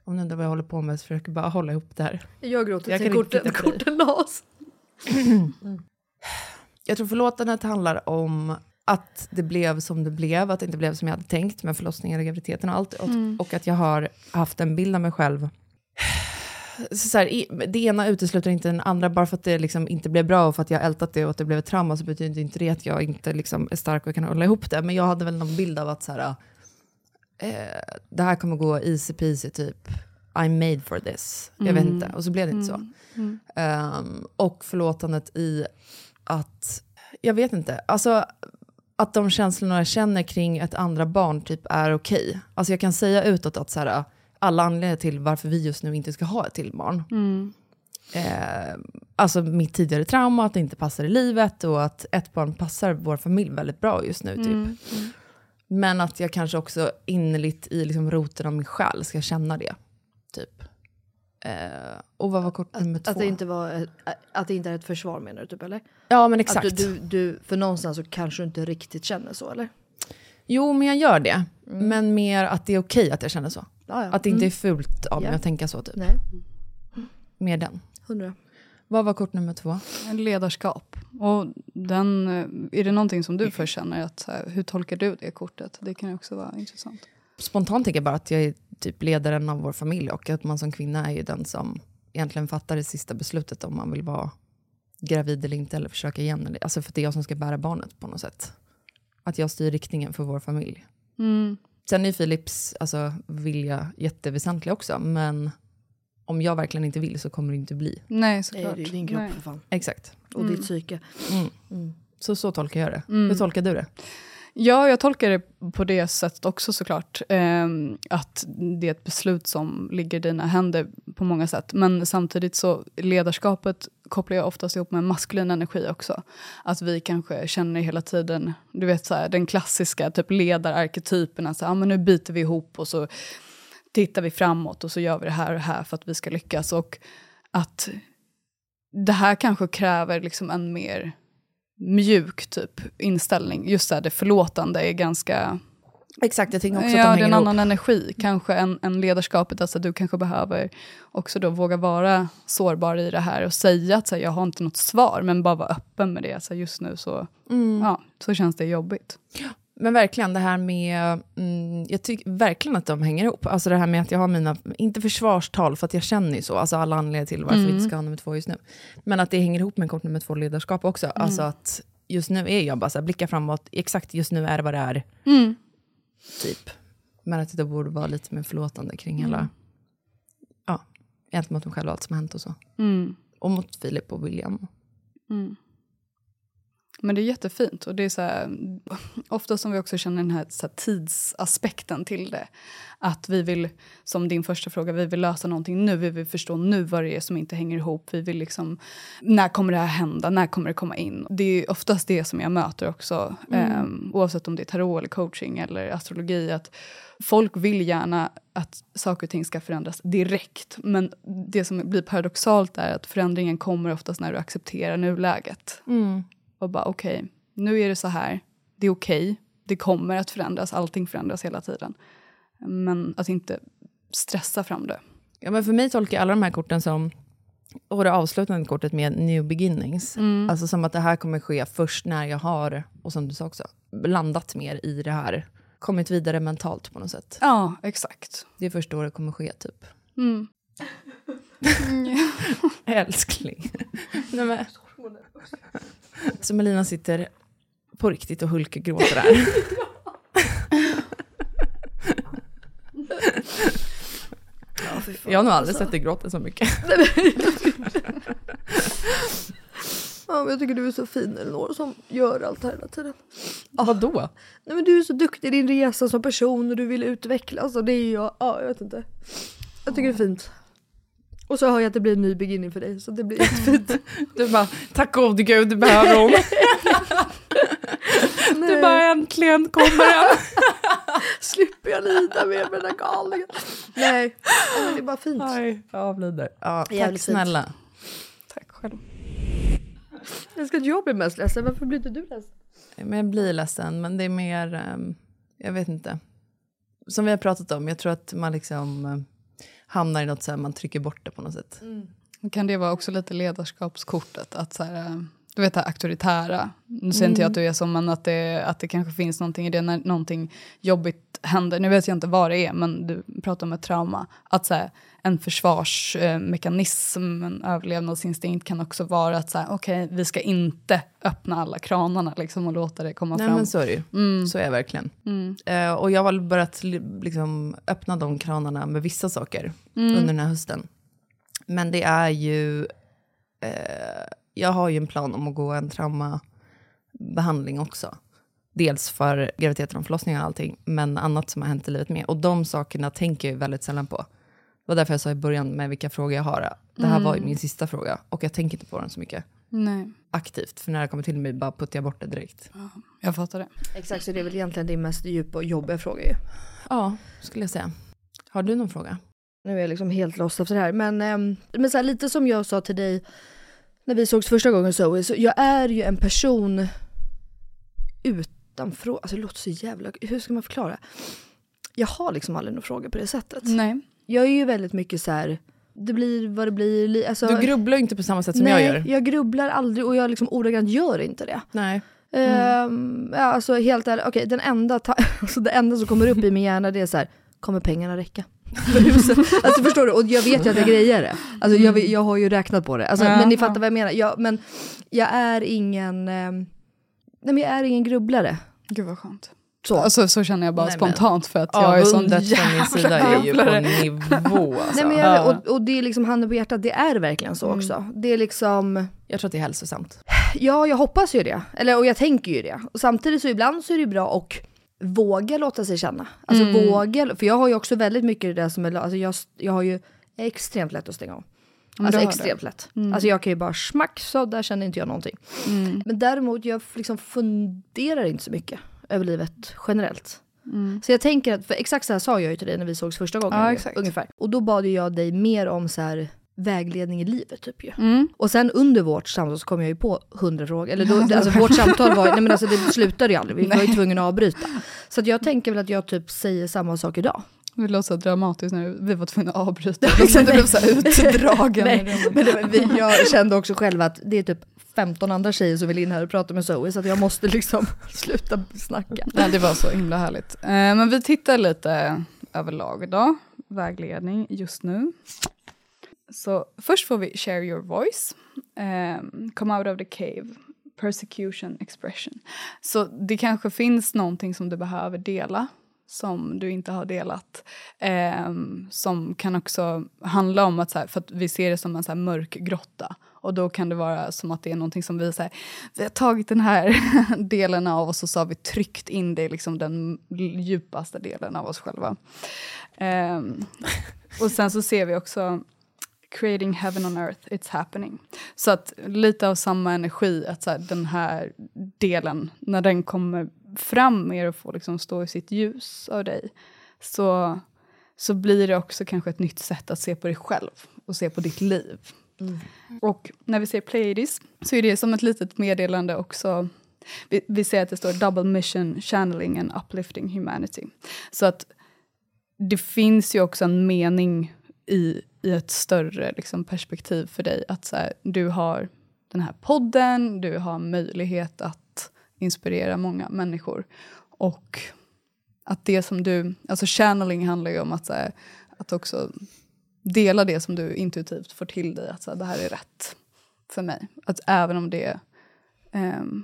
Om ni undrar vad jag håller på med så försöker jag bara hålla ihop det här. Jag gråter Jag till kan inte korten, titta på dig. korten las. Jag tror förlåtandet handlar om att det blev som det blev, att det inte blev som jag hade tänkt med förlossningen och graviditeten och allt. Och, Mm. och att jag har haft en bild av mig själv. Så så här, i- det ena utesluter inte den andra, bara för att det liksom inte blev bra och för att jag har ältat det och att det blev ett trauma så betyder inte det att jag inte liksom är stark och kan hålla ihop det. Men jag hade väl någon bild av att så här, eh, det här kommer gå easy peasy typ. I'm made for this. Jag vet Mm. inte. Och så blev det inte Mm. så. Ehm, och förlåtandet i att, jag vet inte, alltså att de känslorna jag känner kring ett andra barn typ är okej. Alltså jag kan säga utåt att så här, alla anledningar till varför vi just nu inte ska ha ett till barn. Mm. Eh, alltså mitt tidigare trauma, att det inte passar i livet och att ett barn passar vår familj väldigt bra just nu. Typ. Mm. Men att jag kanske också innerligt i liksom roten av min själ ska känna det. Typ. Eh, och vad var kort nummer två? Att det, inte var, ett- att det inte är ett försvar menar du typ eller? Ja, men exakt. Att du, du, du, för någonstans så kanske du inte riktigt känner så eller? Jo, men jag gör det. Mm. Men mer att det är okej att jag känner så. Ja, ja. Att det inte Mm. är fult av mig Ja. att tänka så. Typ. Nej. Mer den. Hundra. Vad var kort nummer två? Ledarskap. Och den, eh, är det någonting som du först känner, att, så här, hur tolkar du det kortet? Det kan ju också vara intressant. Spontant tänker jag bara att jag är typ ledaren av vår familj och att man som kvinna är ju den som egentligen fattar det sista beslutet om man vill vara gravid eller inte eller försöka igen. eller- Alltså för det är jag som ska bära barnet på något sätt. Att jag styr riktningen för vår familj. Mm. Sen är ju Philips alltså, vilja jätteväsentlig också, men om jag verkligen inte vill så kommer det inte bli. Nej, såklart. Nej, det är din kropp Nej. för fan. Exakt. Och ditt psyke. Mm. Så, så tolkar jag det. Mm. Hur tolkar du det? Ja, jag tolkar det på det sättet också såklart. Ehm, att det är ett beslut som ligger i dina händer på många sätt. Men samtidigt så ledarskapet kopplar jag oftast ihop med maskulin energi också. Att vi kanske känner hela tiden, du vet så här, den klassiska typ ledararketypen. Att så, här, ah, men nu biter vi ihop och så tittar vi framåt och så gör vi det här och det här för att vi ska lyckas. Och att det här kanske kräver liksom en mer mjuk typ inställning. Just så här, det förlåtande är ganska... Exakt, jag tänker också att ja, de det är hänger en ihop. annan energi kanske än, än ledarskapet. Alltså, du kanske behöver också då våga vara sårbar i det här och säga att så här, jag har inte något svar, men bara vara öppen med det. Alltså, just nu så, Mm. ja, så känns det jobbigt. Men verkligen det här med, mm, jag tycker verkligen att de hänger ihop. Alltså det här med att jag har mina, inte försvarstal för att jag känner ju så, alltså alla anledningar till varför vi Mm. inte ska ha nummer två just nu. Men att det hänger ihop med kort nummer två ledarskap också. Mm. Alltså att just nu är jag bara så här, blicka framåt, exakt just nu är det vad det är, Mm. typ. Men att det borde vara lite mer förlåtande kring Mm. hela, ja, gentemot mig själv och allt som har hänt och så. Mm. Och mot Filip och William. Mm. Men det är jättefint. Och det är så här, ofta som vi också känner den här, så här tidsaspekten till det. Att vi vill, som din första fråga, vi vill lösa någonting nu. Vi vill förstå nu vad det är som inte hänger ihop. Vi vill liksom, när kommer det här hända? När kommer det komma in? Det är oftast det som jag möter också. Mm. ehm, oavsett om det är tarot eller coaching eller astrologi. Att folk vill gärna att saker och ting ska förändras direkt. Men det som blir paradoxalt är att förändringen kommer oftast när du accepterar nuläget. Mm. Och bara okej, nu är det så här. Det är okej. Det kommer att förändras. Allting förändras hela tiden. Men att inte stressa fram det. Ja, men för mig tolkar jag alla de här korten som, och det avslutande kortet med new beginnings. Mm. Alltså som att det här kommer ske först när jag har, och som du sa också, landat mer i det här. Kommit vidare mentalt på något sätt. Ja, exakt. Det är först då det kommer ske typ. Mm. Älskling. Nej, men. Så Melina sitter på riktigt och hulkgråter här. Ja, fy fan, Jag har nog aldrig alltså. sett dig gråta så mycket. Ja, men jag tycker du är så fin Elinor som gör allt här hela tiden. Ah. Vadå? Nej men du är så duktig i din resa som person och du vill utvecklas och det är jag, ja jag vet inte. Jag tycker det är fint. Och så hör jag att det blir en ny beginning för dig så det blir jättefint. Du bara, tack gode gud, det behöver hon. Nej. Du bara, äntligen kommer den. Slipper jag lida mer med den här galningen. Nej, ja, men det är bara fint. Nej, jag avlider. Ja, tack Jävligt fint. snälla. Tack själv. Jag ska att jag blir mest ledsen, varför blir inte du ledsen? Men jag blir ledsen, men det är mer... ehm, jag vet inte. Som vi har pratat om, jag tror att man liksom eh, hamnar i något så här, man trycker bort det på något sätt. Kan det vara också lite ledarskapskortet? Att så här, eh, du vet det här auktoritära. Nu säger Mm. inte jag att du är så, men att det, att det kanske finns någonting i det när någonting jobbigt händer. Nu vet jag inte vad det är, men du pratar om ett trauma. Att så här, en försvarsmekanism, en överlevnadsinstinkt kan också vara att så här, okej, vi ska inte öppna alla kranarna liksom, och låta det komma Nej, fram. men så är det ju. Så är jag verkligen. Mm. Eh, och jag har väl börjat li- liksom, öppna de kranarna med vissa saker Mm. under den här hösten. Men det är ju... Eh, jag har ju en plan om att gå en traumabehandling också. Dels för graviditeten och förlossningen och allting, men annat som har hänt i livet med. Och de sakerna tänker jag ju väldigt sällan på. Det var därför jag sa i början med vilka frågor jag har. Det här Mm. var ju min sista fråga och jag tänker inte på den så mycket Nej, aktivt. För när det kommer till mig bara puttar jag bort det direkt. jag fattar det. Exakt, så det är väl egentligen din mest djupa och jobbiga fråga ju. Ja, skulle jag säga. Har du någon fråga? Nu är jag liksom helt lost efter det här. Men, ehm, men så här, lite som jag sa till dig när vi sågs första gången Zoe, så jag är ju en person utanför, alltså det låter så jävla, hur ska man förklara? Jag har liksom aldrig några frågor på det sättet. Nej. Jag är ju väldigt mycket så här. det blir vad det blir. li- Alltså, Du grubblar ju inte på samma sätt som nej, jag gör. jag grubblar aldrig och jag liksom ordagrant gör inte det. Nej. Ehm, ja, alltså helt ärligt, okej den enda, ta- alltså, det enda som kommer upp i min hjärna det är så här, kommer pengarna räcka? För huset? alltså förstår du? Och jag vet ju att jag grejer det. Alltså jag, vet- jag har ju räknat på det. Alltså, Ja, men ni ja. fattar vad jag menar. Jag, men jag är ingen, ehm, nej men jag är ingen grubblare. Gud vad skönt. Så. Alltså, så känner jag bara Nej, men- spontant för att jag är sån Avundet från min sida är ju på jävla- nivå. Alltså. nej, men jag, ja. Mm. och, och det är liksom handen på hjärtat, det är verkligen så också. Det är liksom, Jag tror att det är hälsosamt. Ja, jag hoppas ju det. Eller, och jag tänker ju det. Och samtidigt så ibland så är det ju bra och våga låta sig känna. Alltså Mm. våga, för jag har ju också väldigt mycket i det där som är, alltså jag, jag har ju extremt lätt att stänga av. men Alltså du har Mm. extremt lätt. Alltså jag kan ju bara smack så där känner inte jag någonting. Men däremot jag liksom funderar inte så mycket över livet generellt. Mm. Så jag tänker att, för exakt så här sa jag ju till dig när vi sågs första gången. Ja, ju, exakt. ungefär. Och då bad ju jag dig mer om så här vägledning i livet typ ju. Mm. Och sen under vårt samtal så kom jag ju på hundra frågor. Eller då, alltså vårt samtal var, nej men alltså det slutade ju aldrig, vi var ju tvungna att avbryta. Så att jag tänker väl att jag typ säger samma sak idag. Det låter så dramatiskt nu. Vi var tvungna att avbryta. liksom. Det blev så här utdragen. i nej, rummet. men det, var- vi, jag kände också själv att det är typ 15 andra tjejer som vill in här och prata med Zoe så att jag måste liksom sluta snacka. Nej, det var så himla härligt. Eh, men vi tittar lite överlag då. Vägledning just nu. Så först får vi Share your voice. Eh, come out of the cave. Persecution expression. Så det kanske finns någonting som du behöver dela som du inte har delat. Eh, som kan också handla om att, så här, för att vi ser det som en så här mörk grotta. Och då kan det vara som att det är någonting som vi, så här, vi har tagit den här delen av oss och så har vi tryckt in det i liksom den djupaste delen av oss själva. Ehm, och sen så ser vi också Creating heaven on earth, it's happening. Så att lite av samma energi, att så här, den här delen, när den kommer fram mer och får liksom stå i sitt ljus av dig, så, så blir det också kanske ett nytt sätt att se på dig själv och se på ditt liv. Och när vi ser Pleiades så är det som ett litet meddelande också. Vi, vi ser att det står double mission, channeling and uplifting humanity. Så att det finns ju också en mening i, i ett större liksom, perspektiv för dig. Att så här, du har den här podden, du har möjlighet att inspirera många människor. Och att det som du... Alltså channeling handlar ju om att, så här, att också dela det som du intuitivt får till dig. Att så här, det här är rätt för mig. Att även om det ehm,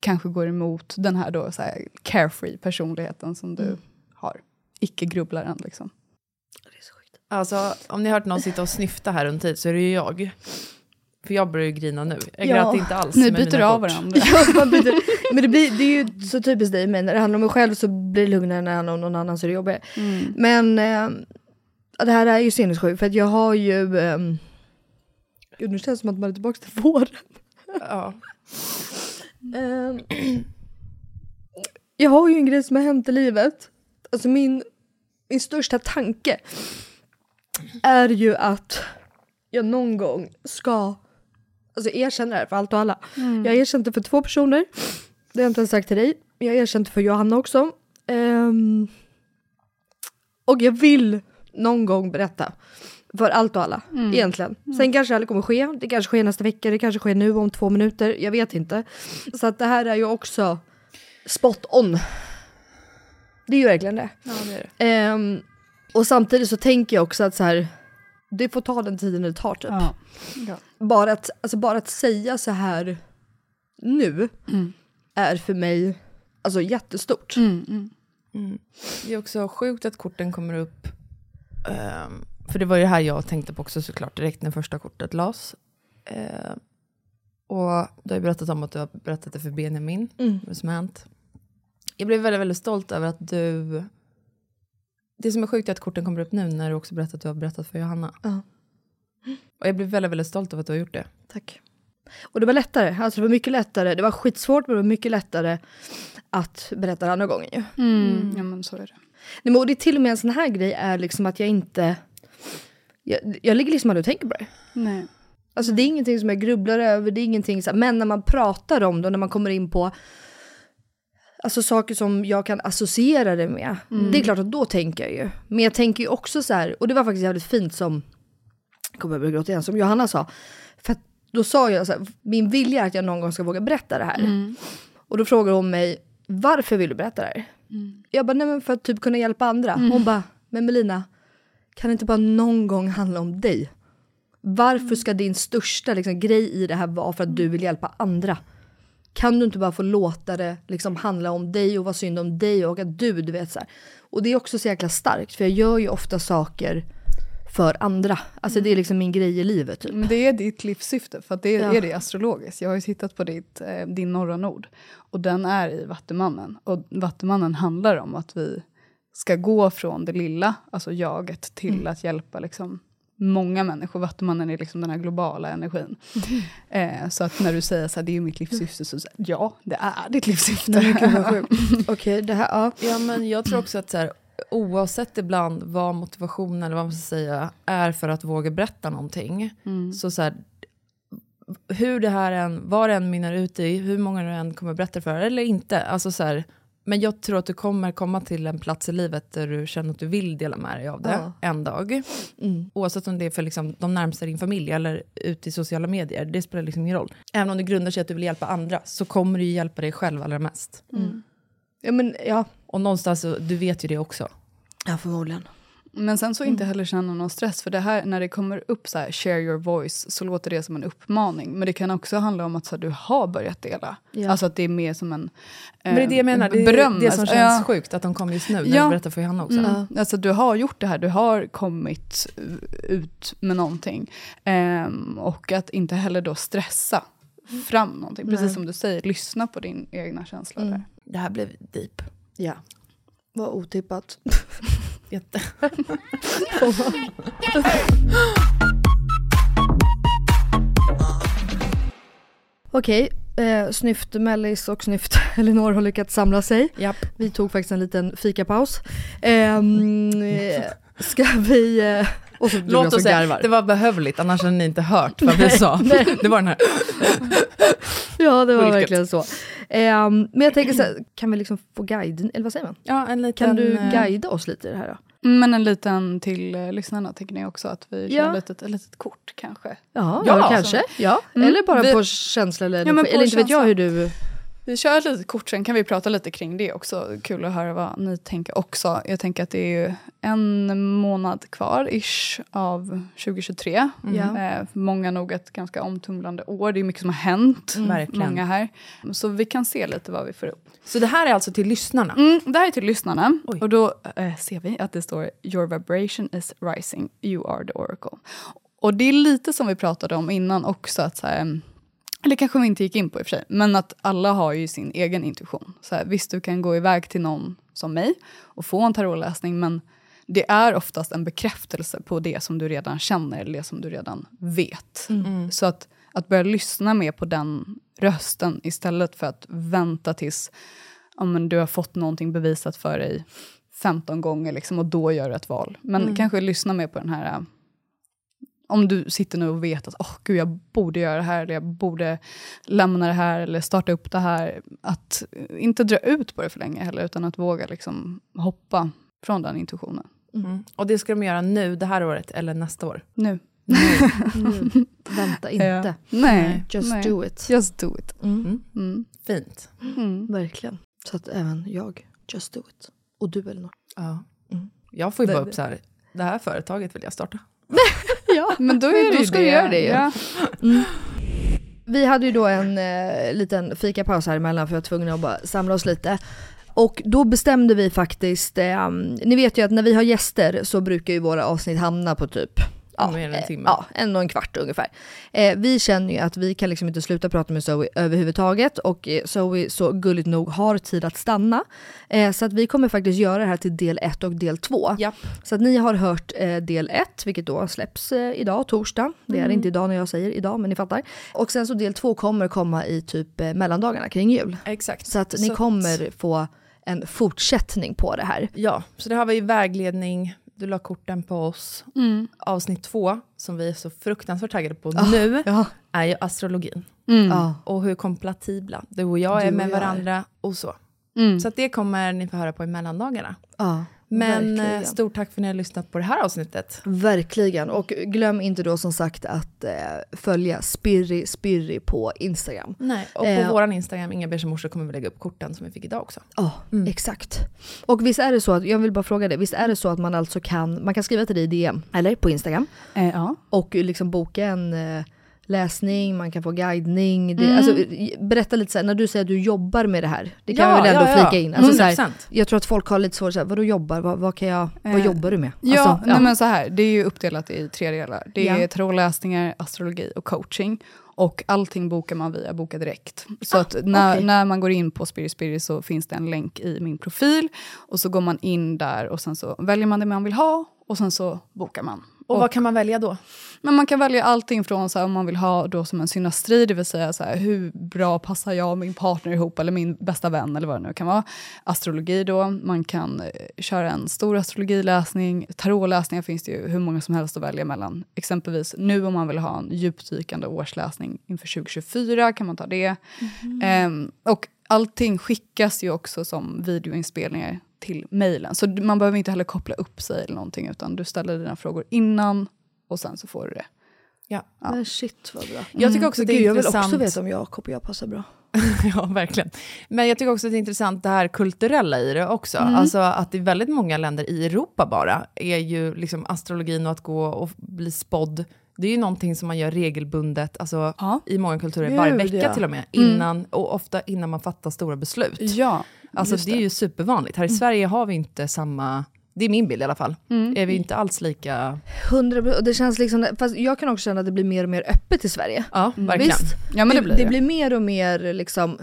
kanske går emot den här, då, så här carefree personligheten som Mm. du har. Icke-grubblaren liksom. Alltså, om ni har hört någon sitta och snyfta här runt hit så är det ju jag. För jag börjar ju grina nu. Jag Ja. grät inte alls Ni med byter mina av kort. varandra. Ja, man byter. Men det, blir, det är ju så typiskt dig men när det handlar om mig själv så blir det lugnare, när det handlar om någon annan så är det jobbigare. Mm. Men eh, ja, det här är ju sinnessjukt för att jag har ju... ehm, Gud nu känns det som att man är tillbaka till våren. Ja. Ehm, jag har ju en grej som har hänt i livet. Alltså min, min största tanke är ju att jag någon gång ska alltså erkänna det här för allt och alla. Mm. Jag har erkänt det för två personer. Det har jag inte ens sagt till dig. Jag har erkänt det för Johanna också. Ehm, och jag vill någon gång berätta för allt och alla Mm. egentligen. Sen kanske det aldrig kommer ske. Det kanske sker nästa vecka, det kanske sker nu om två minuter. Jag vet inte. Så att det här är ju också spot on. Det är ju verkligen det. Ja, det är det. Ehm, och samtidigt så tänker jag också att så här, det får ta den tiden det tar typ. Ja. Bara, att, alltså bara att säga så här nu Mm. är för mig alltså, jättestort. Mm. Det är också sjukt att korten kommer upp. Ehm, för det var ju det här jag tänkte på också såklart direkt när första kortet lades. Ehm, och du har ju berättat om att du har berättat det för Benjamin, Mm. vad som har hänt. Jag blev väldigt, väldigt stolt över att du... Det som är sjukt är att korten kommer upp nu när du också berättat att du har berättat för Johanna. Ja. Och jag blev väldigt, väldigt stolt över att du har gjort det. Tack. Och det var lättare, alltså det var mycket lättare. Det var skitsvårt men det var mycket lättare att berätta den andra gången ju. Mm. Ja, men så är det. Nej, men, och det är till och med en sån här grej är liksom att jag inte... Jag, jag ligger liksom aldrig och tänker på det. Nej. Alltså det är ingenting som jag grubblar över, det är ingenting så här, men när man pratar om det och när man kommer in på alltså saker som jag kan associera det med, det är klart att då tänker jag ju. Men jag tänker ju också så här, och det var faktiskt jävligt fint som, jag kommer jag börja gråta igen, som Johanna sa, för att då sa jag så här, min vilja är att jag någon gång ska våga berätta det här. Mm. Och då frågar hon mig, varför vill du berätta det här? Mm. Jag bara, nej men för att typ kunna hjälpa andra. Hon bara, men Melina, kan det inte bara någon gång handla om dig? Mm. Varför ska din största liksom, grej i det här vara för att du vill hjälpa andra? Kan du inte bara få låta det liksom, handla om dig och vara synd om dig och att du, du vet så här. Och det är också så jäkla starkt för jag gör ju ofta saker för andra. Alltså det är liksom min grej i livet typ. Mm. Men det är ditt livssyfte, för att det är, Ja. är det astrologiskt. Jag har ju tittat på ditt, eh, din norra nord och den är i Vattumannen. Och Vattumannen handlar om att vi ska gå från det lilla, alltså jaget, till att hjälpa liksom, många människor. Vattumannen är liksom den här globala energin. Eh, så att när du säger så här, det är ju mitt livssyfte, så säger jag, ja, det är ditt livssyfte. Nej, men gud, vad sjukt. Okej, det här, ja. Ja, men jag tror också att så här, oavsett ibland vad motivationen eller vad man ska säga är för att våga berätta någonting. Så, så här, hur det här än, vad det än mynnar ut i, hur många du än kommer berätta för eller inte. Alltså så här, men jag tror att du kommer komma till en plats i livet där du känner att du vill dela med dig av det Ja. en dag. Mm. Oavsett om det är för liksom, de närmsta i din familj eller ute i sociala medier. Det spelar liksom ingen roll. Även om det grundar sig i att du vill hjälpa andra så kommer du ju hjälpa dig själv allra mest. ja, men ja. Och någonstans, så- du vet ju det också. Ja, förmodligen. Men sen så Mm. inte heller känna någon stress. För det här, när det kommer upp så här, share your voice, så låter det som en uppmaning. Men det kan också handla om att så här, du har börjat dela. Ja. Alltså att det är mer som en eh, Men det är det jag menar, det är beröm. det som Alltså, känns ja. sjukt att de kom just nu när Ja. du berättar för Johanna också. Mm. Alltså du har gjort det här, du har kommit eh, ut med någonting. Ehm, och att inte heller då stressa Mm. fram någonting. Precis Nej. som du säger, lyssna på din egna Mm. känsla där. Det här blev deep. Ja. Vad otippat. Jätte. Okej, eh, Snyft Mellis och Snyft Elinor har lyckats samla sig. Japp. Vi tog faktiskt en liten fikapaus. Ehm, Eh, ska vi... Eh, och så blir jag Låt som oss säga, garvar. det var behövligt, annars hade ni inte hört vad vi sa. Det var den här. Ja, det var Vilket. verkligen så. Ehm, men jag tänker så här, kan vi liksom få guiden, eller vad säger man? Ja, en liten, Kan du eh, guida oss lite i det här då? Mm, Men en liten till eh, lyssnarna tänker ni också att vi kör Ja. ett, litet, ett litet kort kanske. Ja, Ja, kanske. Ja. Mm. Eller bara Vi- på känsla eller Ja, men energi. på eller inte vet jag känsla. hur du... Vi kör ett litet kort, sen kan vi prata lite kring det också. Kul att höra vad ni tänker också. Jag tänker att det är ju en månad kvar ish av 2023. Ja. Eh, för många nog ett ganska omtumlande år. Det är mycket som har hänt. Verkligen. Många här. Så vi kan se lite vad vi får upp. Så det här är alltså till lyssnarna. Mm, det här är till lyssnarna. Oj. Och då eh, ser vi att det står “Your vibration is rising, you are the oracle”. Och det är lite som vi pratade om innan också, att så här, mm, eller kanske vi inte gick in på i och för sig, men att alla har ju sin egen intuition. Så här, visst, du kan gå iväg till någon som mig och få en tarotläsning, men det är oftast en bekräftelse på det som du redan känner eller det som du redan vet. Mm. Så att, att börja lyssna mer på den rösten istället för att vänta tills ja, men du har fått någonting bevisat för dig 15 gånger liksom, och då gör du ett val. Men Mm. kanske lyssna mer på den här eh, om du sitter nu och vet att åh gud, jag borde göra det här, eller jag borde lämna det här, eller starta upp det här. Att eh, inte dra ut på det för länge heller, utan att våga liksom hoppa från den intuitionen. Mm. Och det ska de göra nu, det här året eller nästa år? Nu. Vänta inte. Mm. Ja. Nej. Just nej. do it. Just do it. Mm. Mm. Fint. Verkligen. Så att även jag, just do it. Och du Elinor. Ja. Jag får ju Mm. Det- bara upp så här, det här företaget vill jag starta. Ja, men då är det ju ska du det. göra det ju. Ja. Vi hade ju då en eh, liten fikapaus här emellan för jag var tvungen att bara samla oss lite. Och då bestämde vi faktiskt, eh, ni vet ju att när vi har gäster så brukar ju våra avsnitt hamna på typ Ja, Mer än en timme. Ja, en och en kvart ungefär. Eh, vi känner ju att vi kan liksom inte sluta prata med Zoe överhuvudtaget och eh, Zoe så gulligt nog har tid att stanna. Eh, så att vi kommer faktiskt göra det här till del 1 och del 2. Japp. Så att ni har hört eh, del 1, vilket då släpps eh, idag, torsdag. Det är det Mm. inte idag när jag säger idag, men ni fattar. Och sen så del 2 kommer komma i typ eh, mellandagarna kring jul. Exakt. Så att ni Så- kommer få en fortsättning på det här. Ja, så det här var ju vägledning, du la korten på oss. Mm. Avsnitt två, som vi är så fruktansvärt taggade på Ah, nu, ja. är ju astrologin. Mm. Ja. Och hur kompatibla du och jag Du är och med jag är. varandra och så. Mm. Så att det kommer ni få höra på i mellandagarna. Ja, Men eh, verkligen. stort tack för att ni har lyssnat på det här avsnittet. Verkligen. Och glöm inte då som sagt att eh, följa Spirri Spirri på Instagram. Nej. Och på Eh, vår Instagram, Inga Beige Morsor, kommer vi lägga upp korten som vi fick idag också. Ja, mm. exakt. Och visst är det så att, jag vill bara fråga dig, visst är det så att man alltså kan, man kan skriva till dig i DM, eller på Instagram, Eh, ja. och liksom boka en eh, läsning, man kan få guidning. Det, Mm. alltså, eh, berätta lite så här, när du säger att du jobbar med det här, det kan Ja, jag väl ändå ja, ja. flika in. Alltså, så här, 100%. jag tror att folk har lite svårt, så här, vadå jobbar, vad, vad, kan jag, vad Eh, jobbar du med? Ja, Alltså, nej, men så här, det är ju uppdelat i tre delar. Det är Ja. tarotläsningar, astrologi och coaching. Och allting bokar man via Boka Direkt. Så att när, Ah, okej. när man går in på Spirit Spirit så finns det en länk i min profil. Och så går man in där och sen så väljer man det man vill ha och sen så bokar man. Och, vad kan man välja då? Men man kan välja allting från så här, om man vill ha då som en synastri, det vill säga så här, hur bra passar jag och min partner ihop eller min bästa vän eller vad det nu kan vara. Astrologi då, man kan eh, köra en stor astrologiläsning, tarotläsningar finns det ju hur många som helst att välja mellan. Exempelvis nu om man vill ha en djupdykande årsläsning inför 2024 kan man ta det. Ehm, och allting skickas ju också som videoinspelningar till mejlen. Så du- man behöver inte heller koppla upp sig eller någonting utan du ställer dina frågor innan och sen så får du det. Ja. Men shit vad bra. Jag tycker också att Mm, Mm. det är Gud, jag vill intressant. också veta om jag kopiar passar bra. Ja, verkligen. Men jag tycker också att det är intressant det här kulturella i det också. Alltså att i väldigt många länder i Europa bara är ju liksom astrologin och att gå och bli spådd, det är ju någonting som man gör regelbundet, alltså Ja. i många kulturer varje Gud, vecka ja. till och med, innan, och ofta innan man fattar stora beslut. Ja, Alltså det Mm. är ju supervanligt. Här i Sverige har vi inte samma, det är min bild i alla fall, är vi inte alls lika, 100%, och det känns liksom, fast jag kan också känna att det blir mer och mer öppet i Sverige. ja verkligen. Visst? Ja, men det blir det. blir mer och mer liksom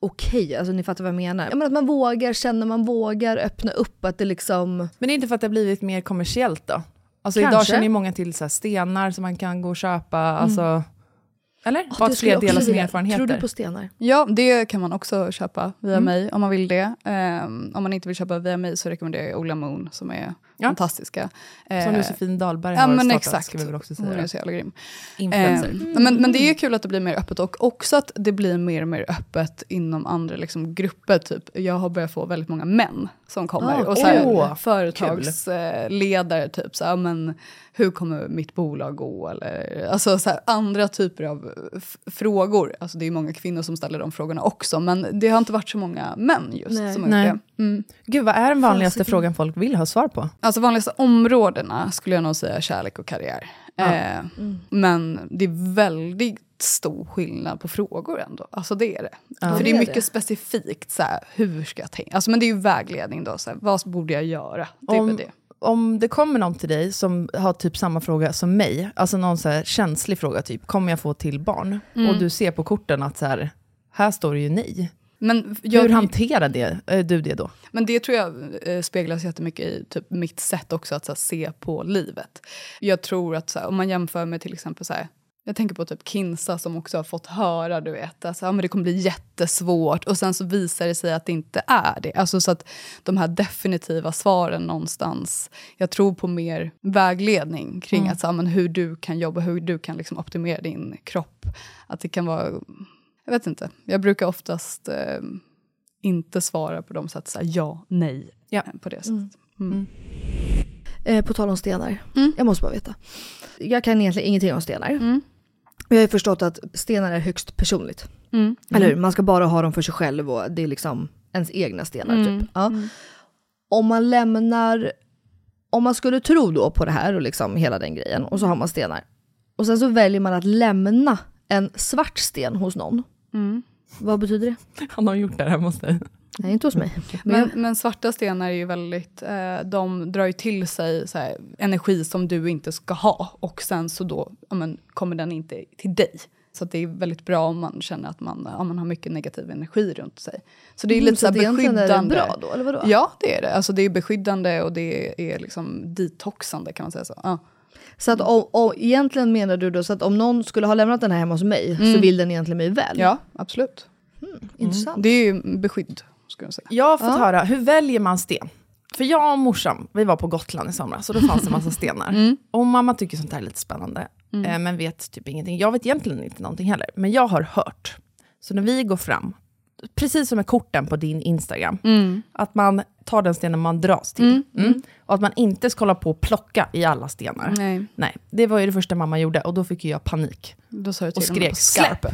okej, alltså ni fattar vad jag menar. Ja, men att man vågar känna, man vågar öppna upp att det liksom... Men det är inte för att det har blivit mer kommersiellt då? Alltså idag Kanske. känner ju många till så här stenar som man kan gå och köpa, alltså, eller? Åh, Bara det att skulle jag fler också delar sina vilja. erfarenheter. Tror du på stenar? Ja, det kan man också köpa via Mm. mig om man vill det. Ehm, om man inte vill köpa via mig så rekommenderar jag Ola Moon som är Ja. fantastiska. Som Ehm, Josefin Dahlberg Ja har men startat, exakt. ska vi väl också Hon är säga. Ehm, så jävla grym. Influencer. Eh, men, men det är kul att det blir mer öppet och också att det blir mer och mer öppet inom andra liksom, grupper. Typ. Jag har börjat få väldigt många män som kommer. Ah, och så här, åh, företagsledare, typ så här, men, hur kommer mitt bolag gå? Eller, alltså, så här, andra typer av f- frågor. Alltså, det är många kvinnor som ställer de frågorna också men det har inte varit så många män just Nej. som har Nej. gjort det. Mm. Gud, vad är den vanligaste Fasiken. frågan folk vill ha svar på? Alltså vanligaste områdena skulle jag nog säga kärlek och karriär. Eh, Men det är väldigt stor skillnad på frågor ändå. Alltså det är det. För det Det är är mycket det. specifikt så här, hur ska jag tänka? Alltså men det är ju vägledning då, så här, vad borde jag göra? Det är Om- väl det. om det kommer någon till dig som har typ samma fråga som mig, alltså någon så här känslig fråga typ, kommer jag få till barn? Mm. Och du ser på korten att så här, här står det ju nej. Men jag- Hur hanterar det, eh, du det då? Men det tror jag eh, speglas jättemycket i typ, mitt sätt också att så här, se på livet. Jag tror att så här, om man jämför med till exempel så här, jag tänker på typ Kinsa som också har fått höra du vet, alltså, ja, men det kommer bli jättesvårt och sen så visar det sig att det inte är det. Alltså så att de här definitiva svaren någonstans, jag tror på mer vägledning kring Mm. att så här, men hur du kan jobba, hur du kan liksom optimera din kropp. Att det kan vara, jag vet inte, jag brukar oftast eh, inte svara på de sätt så här, ja, nej, eh, på det sättet. Mm. Eh, på tal om stenar. Jag måste bara veta. Jag kan egentligen ingenting om stenar. Jag har ju förstått att stenar är högst personligt. Mm. Eller hur? Man ska bara ha dem för sig själv och det är liksom ens egna stenar Mm. typ. Ja. Om man lämnar, om man skulle tro då på det här och liksom hela den grejen och så har man stenar. Och sen så väljer man att lämna en svart sten hos någon. Mm. Vad betyder det? Han har gjort det här hos dig. Nej, inte hos mig. Men, men svarta stenar är ju väldigt, eh, de drar ju till sig så här, energi som du inte ska ha och sen så då ja, men, kommer den inte till dig. Så att det är väldigt bra om man känner att man, ja, man har mycket negativ energi runt sig. Så det är Mm, lite så så här att egentligen är det beskyddande. bra då, eller vadå? Ja, det är det. Alltså det är beskyddande och det är liksom detoxande kan man säga så. Ja. Mm. Så att om, om, egentligen menar du då så att om någon skulle ha lämnat den här hemma hos mig så Mm. vill den egentligen mig väl? Ja, absolut. Intressant. Det är ju beskydd, skulle jag säga. Jag har fått höra, hur väljer man sten? För jag och morsan, vi var på Gotland i somras och då fanns det en massa stenar. Och mamma tycker sånt här är lite spännande, Mm. eh, men vet typ ingenting. Jag vet egentligen inte någonting heller, men jag har hört. Så när vi går fram, precis som med korten på din Instagram, Mm. att man tar den stenen man dras till. Mm, Mm. Och att man inte ska hålla på och plocka i alla stenar. Nej. det var ju det första mamma gjorde och då fick ju jag panik. Då sa du och till honom skrek på släpp!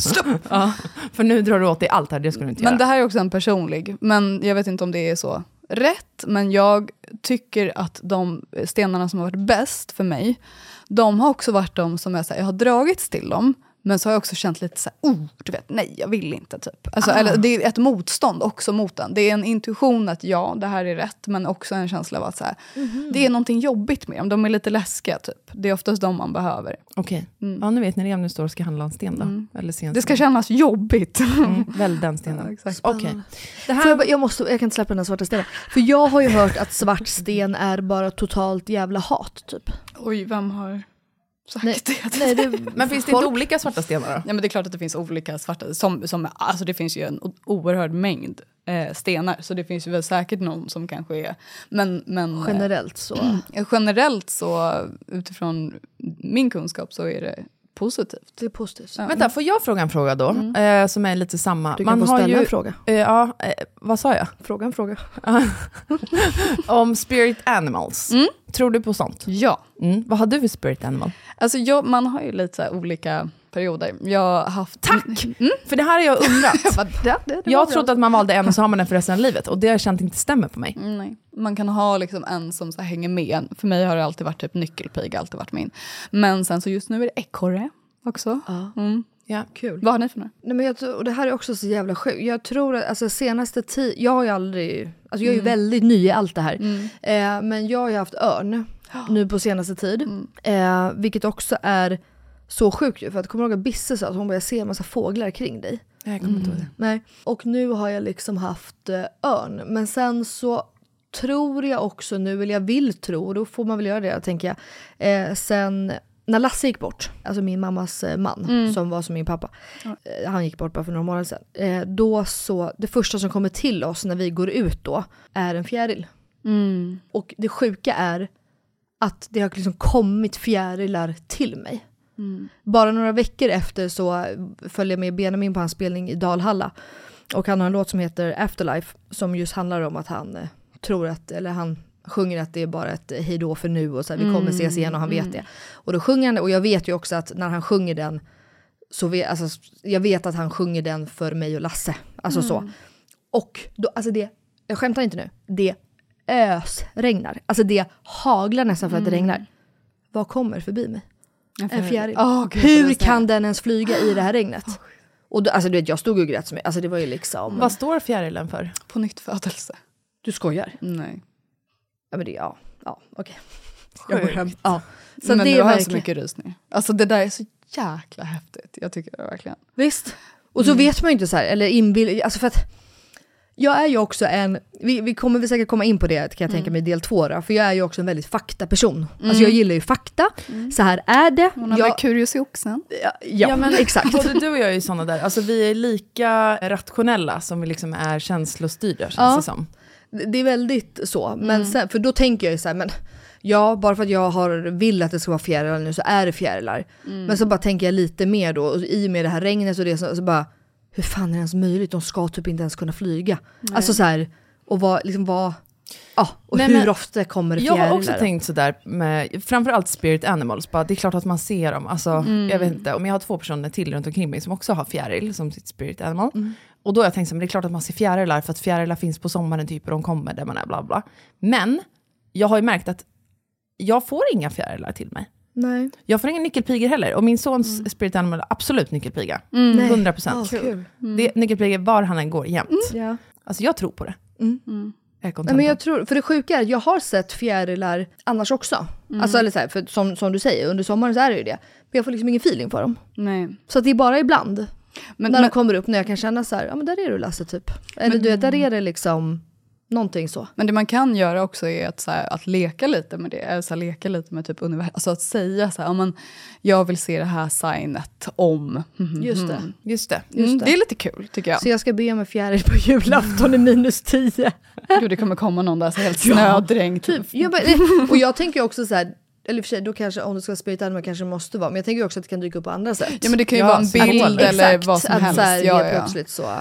skarpen. Stopp! ja, för nu drar du åt dig allt här, det ska du inte Men göra. det här är också en personlig, men jag vet inte om det är så rätt, men jag tycker att de stenarna som har varit bäst för mig, de har också varit de som jag, så här, jag har dragits till dem, men så har jag också känt lite så här, oh, du vet, nej, jag vill inte typ. Alltså, Ah. eller, det är ett motstånd också mot den. Det är en intuition att ja, det här är rätt, men också en känsla av att så här, det är någonting jobbigt med dem, de är lite läskiga typ. Det är oftast de man behöver. Okej, ja, nu vet ni det om ni står och ska handla en sten då. Eller se en Mm. Det ska sten. kännas jobbigt. Mm, väl den stenen. Okej. Det här... jag, bara- jag, måste, jag kan inte släppa den här svarta stenen. För jag har ju hört att svart sten är bara totalt jävla hat typ. Oj, vem har sagt det? Nej, det Men finns det inte olika svarta stenar då? Ja, men det är klart att det finns olika svarta. Som, som, alltså det finns ju en o- oerhörd mängd eh, stenar, så det finns ju väl säkert någon som kanske är... Men, men, generellt så. eh, generellt så, utifrån min kunskap, så är det positivt. Det är positivt. Ja. Vänta, får jag fråga en fråga då? Eh, som är lite samma. Du kan få har ställa ju- en fråga. Eh, ja, eh, vad sa jag? Fråga en fråga. Om spirit animals. Tror du på sånt? Ja. Mm. Vad har du för spirit animal? Alltså jag, man har ju lite så här olika perioder. Jag har haft... Mm, Tack! För det här har jag undrat. Jag, bara, det, det, det var jag bra. trodde att man valde en och så har man den för resten av livet. Och det har jag känt inte stämmer på mig. Mm, Nej. Man kan ha liksom en som så här hänger med. För mig har det alltid varit typ nyckelpiga, alltid varit min. Men sen så just nu är det ekorre också. Mm. Ja. Kul. Vad har ni för några? Nej, men jag, tror- och det här är också så jävla sjukt. Jag tror att alltså, senaste tio, jag har ju aldrig, alltså jag är ju väldigt ny i allt det här. Eh, men jag har ju haft örn nu på senaste tid. Eh, vilket också är så sjukt ju. För att kommer du ihåg att Bisse sa att hon började se en massa fåglar kring dig? Jag kommer inte ihåg det. Nej. Och nu har jag liksom haft eh, örn. Men sen så tror jag också nu, eller jag vill tro, och då får man väl göra det tänker jag. Eh, sen när Lasse gick bort, alltså min mammas eh, man Mm. som var som min pappa. Eh, han gick bort bara för några månader sedan. Eh, då så, det första som kommer till oss när vi går ut då är en fjäril. Och det sjuka är att det har liksom kommit fjärilar till mig. Bara några veckor efter så följer jag med Benjamin på hans spelning i Dalhalla. Och han har en låt som heter Afterlife som just handlar om att han eh, tror att, eller han sjunger att det är bara ett hejdå för nu och så här, vi kommer ses igen och han vet det. Och då sjunger han det och jag vet ju också att när han sjunger den så vet, alltså, jag vet att han sjunger den för mig och Lasse. Alltså så. Och då, alltså det, jag skämtar inte nu, det ösregnar. Alltså det haglar nästan för att det regnar. Vad kommer förbi mig? En fjäril. Åh, gud, Eh, Hur vad snällt. kan den ens flyga i det här regnet? Och då, alltså du vet, jag stod och grät så mycket. Alltså det var ju liksom... Vad står fjärilen för? På nytt födelse. Du skojar? Nej. Ja men det, ja. Ja, okej. Jag går Sjukt. hem. Ja. Så Men det nu är har jag så verkligen- mycket rysningar. Alltså det där är så jäkla häftigt. Jag tycker det verkligen. Visst. Och så vet man ju inte så här, eller inbill... Alltså för att jag är ju också en, vi, vi kommer väl säkert komma in på det kan jag tänka mig i del två då, för jag är ju också en väldigt faktaperson. Alltså Mm. jag gillar ju fakta, så här är det. Hon har jag, Merkurius i oxen. ja, ja, men exakt. Både du och jag är ju såna där. Alltså, vi är lika rationella som vi liksom är känslostyrda, känns Ja. det som. Det är väldigt så, men Mm. sen, för då tänker jag ju så här, men ja, bara för att jag har, vill att det ska vara fjärilar nu så är det fjärilar. Mm. Men så bara tänker jag lite mer då, och i och med det här regnet och det så, så bara, hur fan är det ens möjligt? De ska typ inte ens kunna flyga. Nej. Alltså så här, och vad, liksom vad, ja, och Nej, hur men ofta kommer det Jag fjärilar? har också då? tänkt sådär, med, framförallt spirit animals, bara, det är klart att man ser dem. Alltså, Mm. Jag vet inte, om jag har två personer till runt omkring mig som också har fjäril som sitt spirit animal. Mm. Och då har jag tänkt så, men det är klart att man ser fjärilar, för att fjärilar finns på sommaren typ, och de kommer där man är, bla bla. Men jag har ju märkt att jag får inga fjärilar till mig. Nej. Jag får inga nyckelpigor heller. Och min sons spirit animal är absolut nyckelpiga. Mm. Nej. 100 procent. Åh, kul. Det är nyckelpigor var han än går, jämt. Ja. Alltså jag tror på det. Mm. Mm. Jag är Nej, kontentan. men jag tror, för det sjuka är att jag har sett fjärilar annars också. Mm. Alltså eller så här, för som, som du säger, under sommaren så är det ju det. Men jag får liksom ingen feeling för dem. Nej. Så att det är bara ibland Men, när men, de kommer upp när jag kan känna så här, ja men där är du Lasse typ. Eller du vet, där är det liksom någonting så. men det man kan göra också är att, så här, att leka lite med det. Eller så här, leka lite med typ universum. Alltså att säga så här, ja, men, jag vill se det här signet om. Mhm, Just det. mhm. Just det. Just Mm, det. det är lite kul tycker jag. Så jag ska be om en fjäril på julafton i minus 10. Gud, det kommer komma någon där så helt snödränkt. Typ. Jag bara, och jag tänker ju också så här, eller i och för sig, då kanske om du ska spela animal kanske det måste vara, men jag tänker ju också att det kan dyka upp på andra sätt. Ja men det kan ju Ja, vara en så- bild Att- eller Exakt, vad som att helst. Så här, ja, ja, ja, ja. plötsligt så. Eh,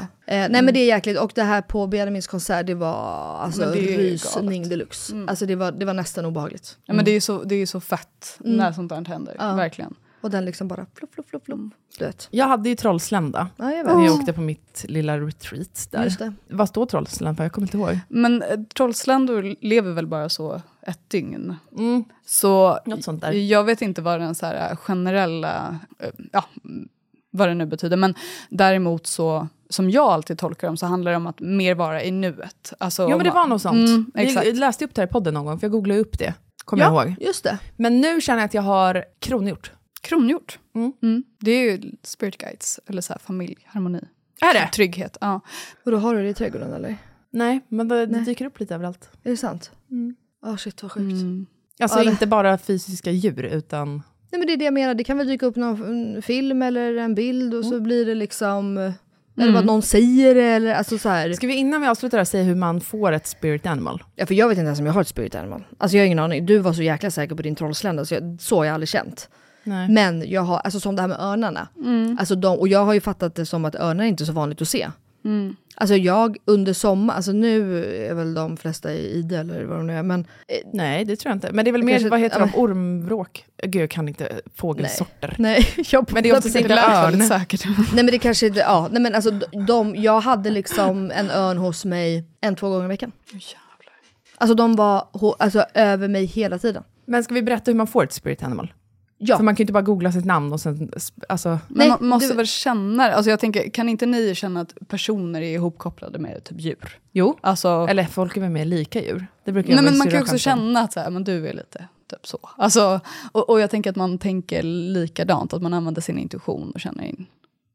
nej men det är jäkligt, och det här på Benjamins konsert, det var alltså Men det är ju rysning galet. Mm. deluxe. Alltså det var, det var nästan obehagligt. Ja, men Mm. det är ju så, det är ju så fett när sånt här händer. Ja. Verkligen. Och den liksom bara flopp, flopp, flopp, Mm. flopp. Du vet. Jag hade ju trollslända. Ja, jag vet. När jag åkte på mitt lilla retreat där. Just det. Vad står trollslända? Jag kommer inte ihåg. Men eh, trollsländor lever väl bara så ett dygn? Mm. Så Något sånt där. jag vet inte vad den så här eh, generella, eh, ja, mm, vad det nu betyder. Men däremot så, som jag alltid tolkar dem, så handlar det om att mer vara i nuet. Alltså, Ja, om men det man- var något sånt. Mm, Vi- exakt. jag läste upp det här i podden någon gång, för jag googlade upp det. Kommer Ja, jag ihåg. just det. Men nu känner jag att jag har kronhjort. Kronhjort. Mm. Det är ju spirit guides, eller så här, familj, harmoni, Är det? trygghet. Ja. Och då har du det i trädgården eller? Nej, men det, det Nej. dyker upp lite överallt. Är det sant? Mm. Ja shit vad sjukt. Mm. Alltså Ja, det- inte bara fysiska djur, utan... Nej men det är det jag menar, det kan väl dyka upp någon en film eller en bild och så blir det liksom, eh, eller bara att någon säger det eller alltså så här. Ska vi innan vi avslutar här säga hur man får ett spirit animal? Ja för jag vet inte ens om jag har ett spirit animal. Alltså jag har ingen aning, du var så jäkla säker på din trollslända så, jag, så har jag aldrig känt. Nej. Men jag har, alltså som det här med örnarna. Alltså de, och jag har ju fattat det som att örnar är inte är så vanligt att se. Mm. Alltså jag under sommar, alltså nu är väl de flesta i Ide eller vad de nu är, men Nej, det tror jag inte. Men det är väl mer, kanske- vad heter ja, de, ormvråk? Gud, jag kan inte fågelsorter. nej. Jag Men det är oftast Det inte lät örn. väldigt säkert. Nej men det kanske inte, ja, nej men alltså de, jag hade liksom en örn hos mig en, två gånger i veckan. Alltså de var ho- alltså, över mig hela tiden. Men ska vi berätta hur man får ett spirit animal? Ja. För man kan ju inte bara googla sitt namn och sen... Alltså, Men Nej, man måste du- väl känna det? alltså jag tänker, Kan inte ni känna att personer är ihopkopplade med typ djur? jo. Alltså, Eller folk är väl mer lika djur? Det brukar jag nej, och men min man kan syrra ju också skämta om. känna att så här, men du är lite typ så. Alltså, och, och jag tänker att man tänker likadant, att man använder sin intuition och känner in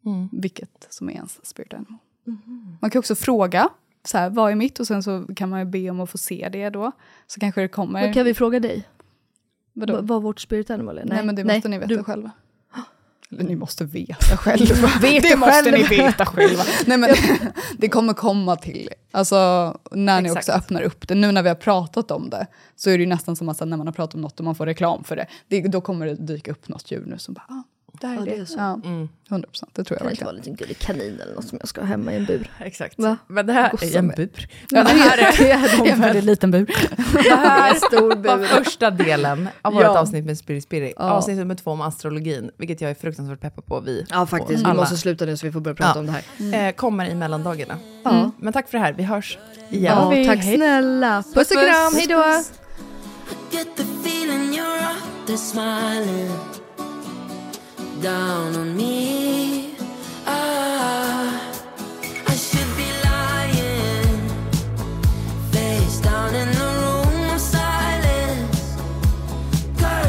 Mm. vilket som är ens spirit animal. Mhm. Man kan också fråga, så här, vad är mitt? Och sen så kan man ju be om att få se det då. Så kanske det kommer. Men kan vi fråga dig? Vadå? Vad- Vad vårt spirit animal är? nej, men det måste ni veta Du- själva. Eller ni måste veta själva. Vet det måste själv. ni veta själva. Nej, men, det kommer komma till er. alltså, när ni Exakt. också öppnar upp det. Nu när vi har pratat om det så är det ju nästan som att sen när man har pratat om något och man får reklam för det, det då kommer det dyka upp något djur nu som bara, ah, där är Ja, det. det är så. Ja, Mm. 100 procent, det tror jag Kan det inte vara verkligen. en liten gullig kanin eller något som jag ska ha hemma i en bur? Exakt. Va? Men det här Gossa är en mig. bur. Ja, det här är en väldigt liten bur. Det här En stor bur. var första delen av vårt Ja. avsnitt med Spirit Spirit. Ja. Avsnitt nummer två om astrologin, vilket jag är fruktansvärt peppad på. Vi Ja faktiskt, vi Alla. måste sluta nu så vi får börja prata Ja. om det här. eh, kommer i mellandagarna. Ja. Men tack för det här, vi hörs igen. Ja, tack Hej. snälla. Puss och Puss. kram, hejdå! Get the feeling you're out there smiling down on me. Ah, I should be lying face down in the room of silence. Ah,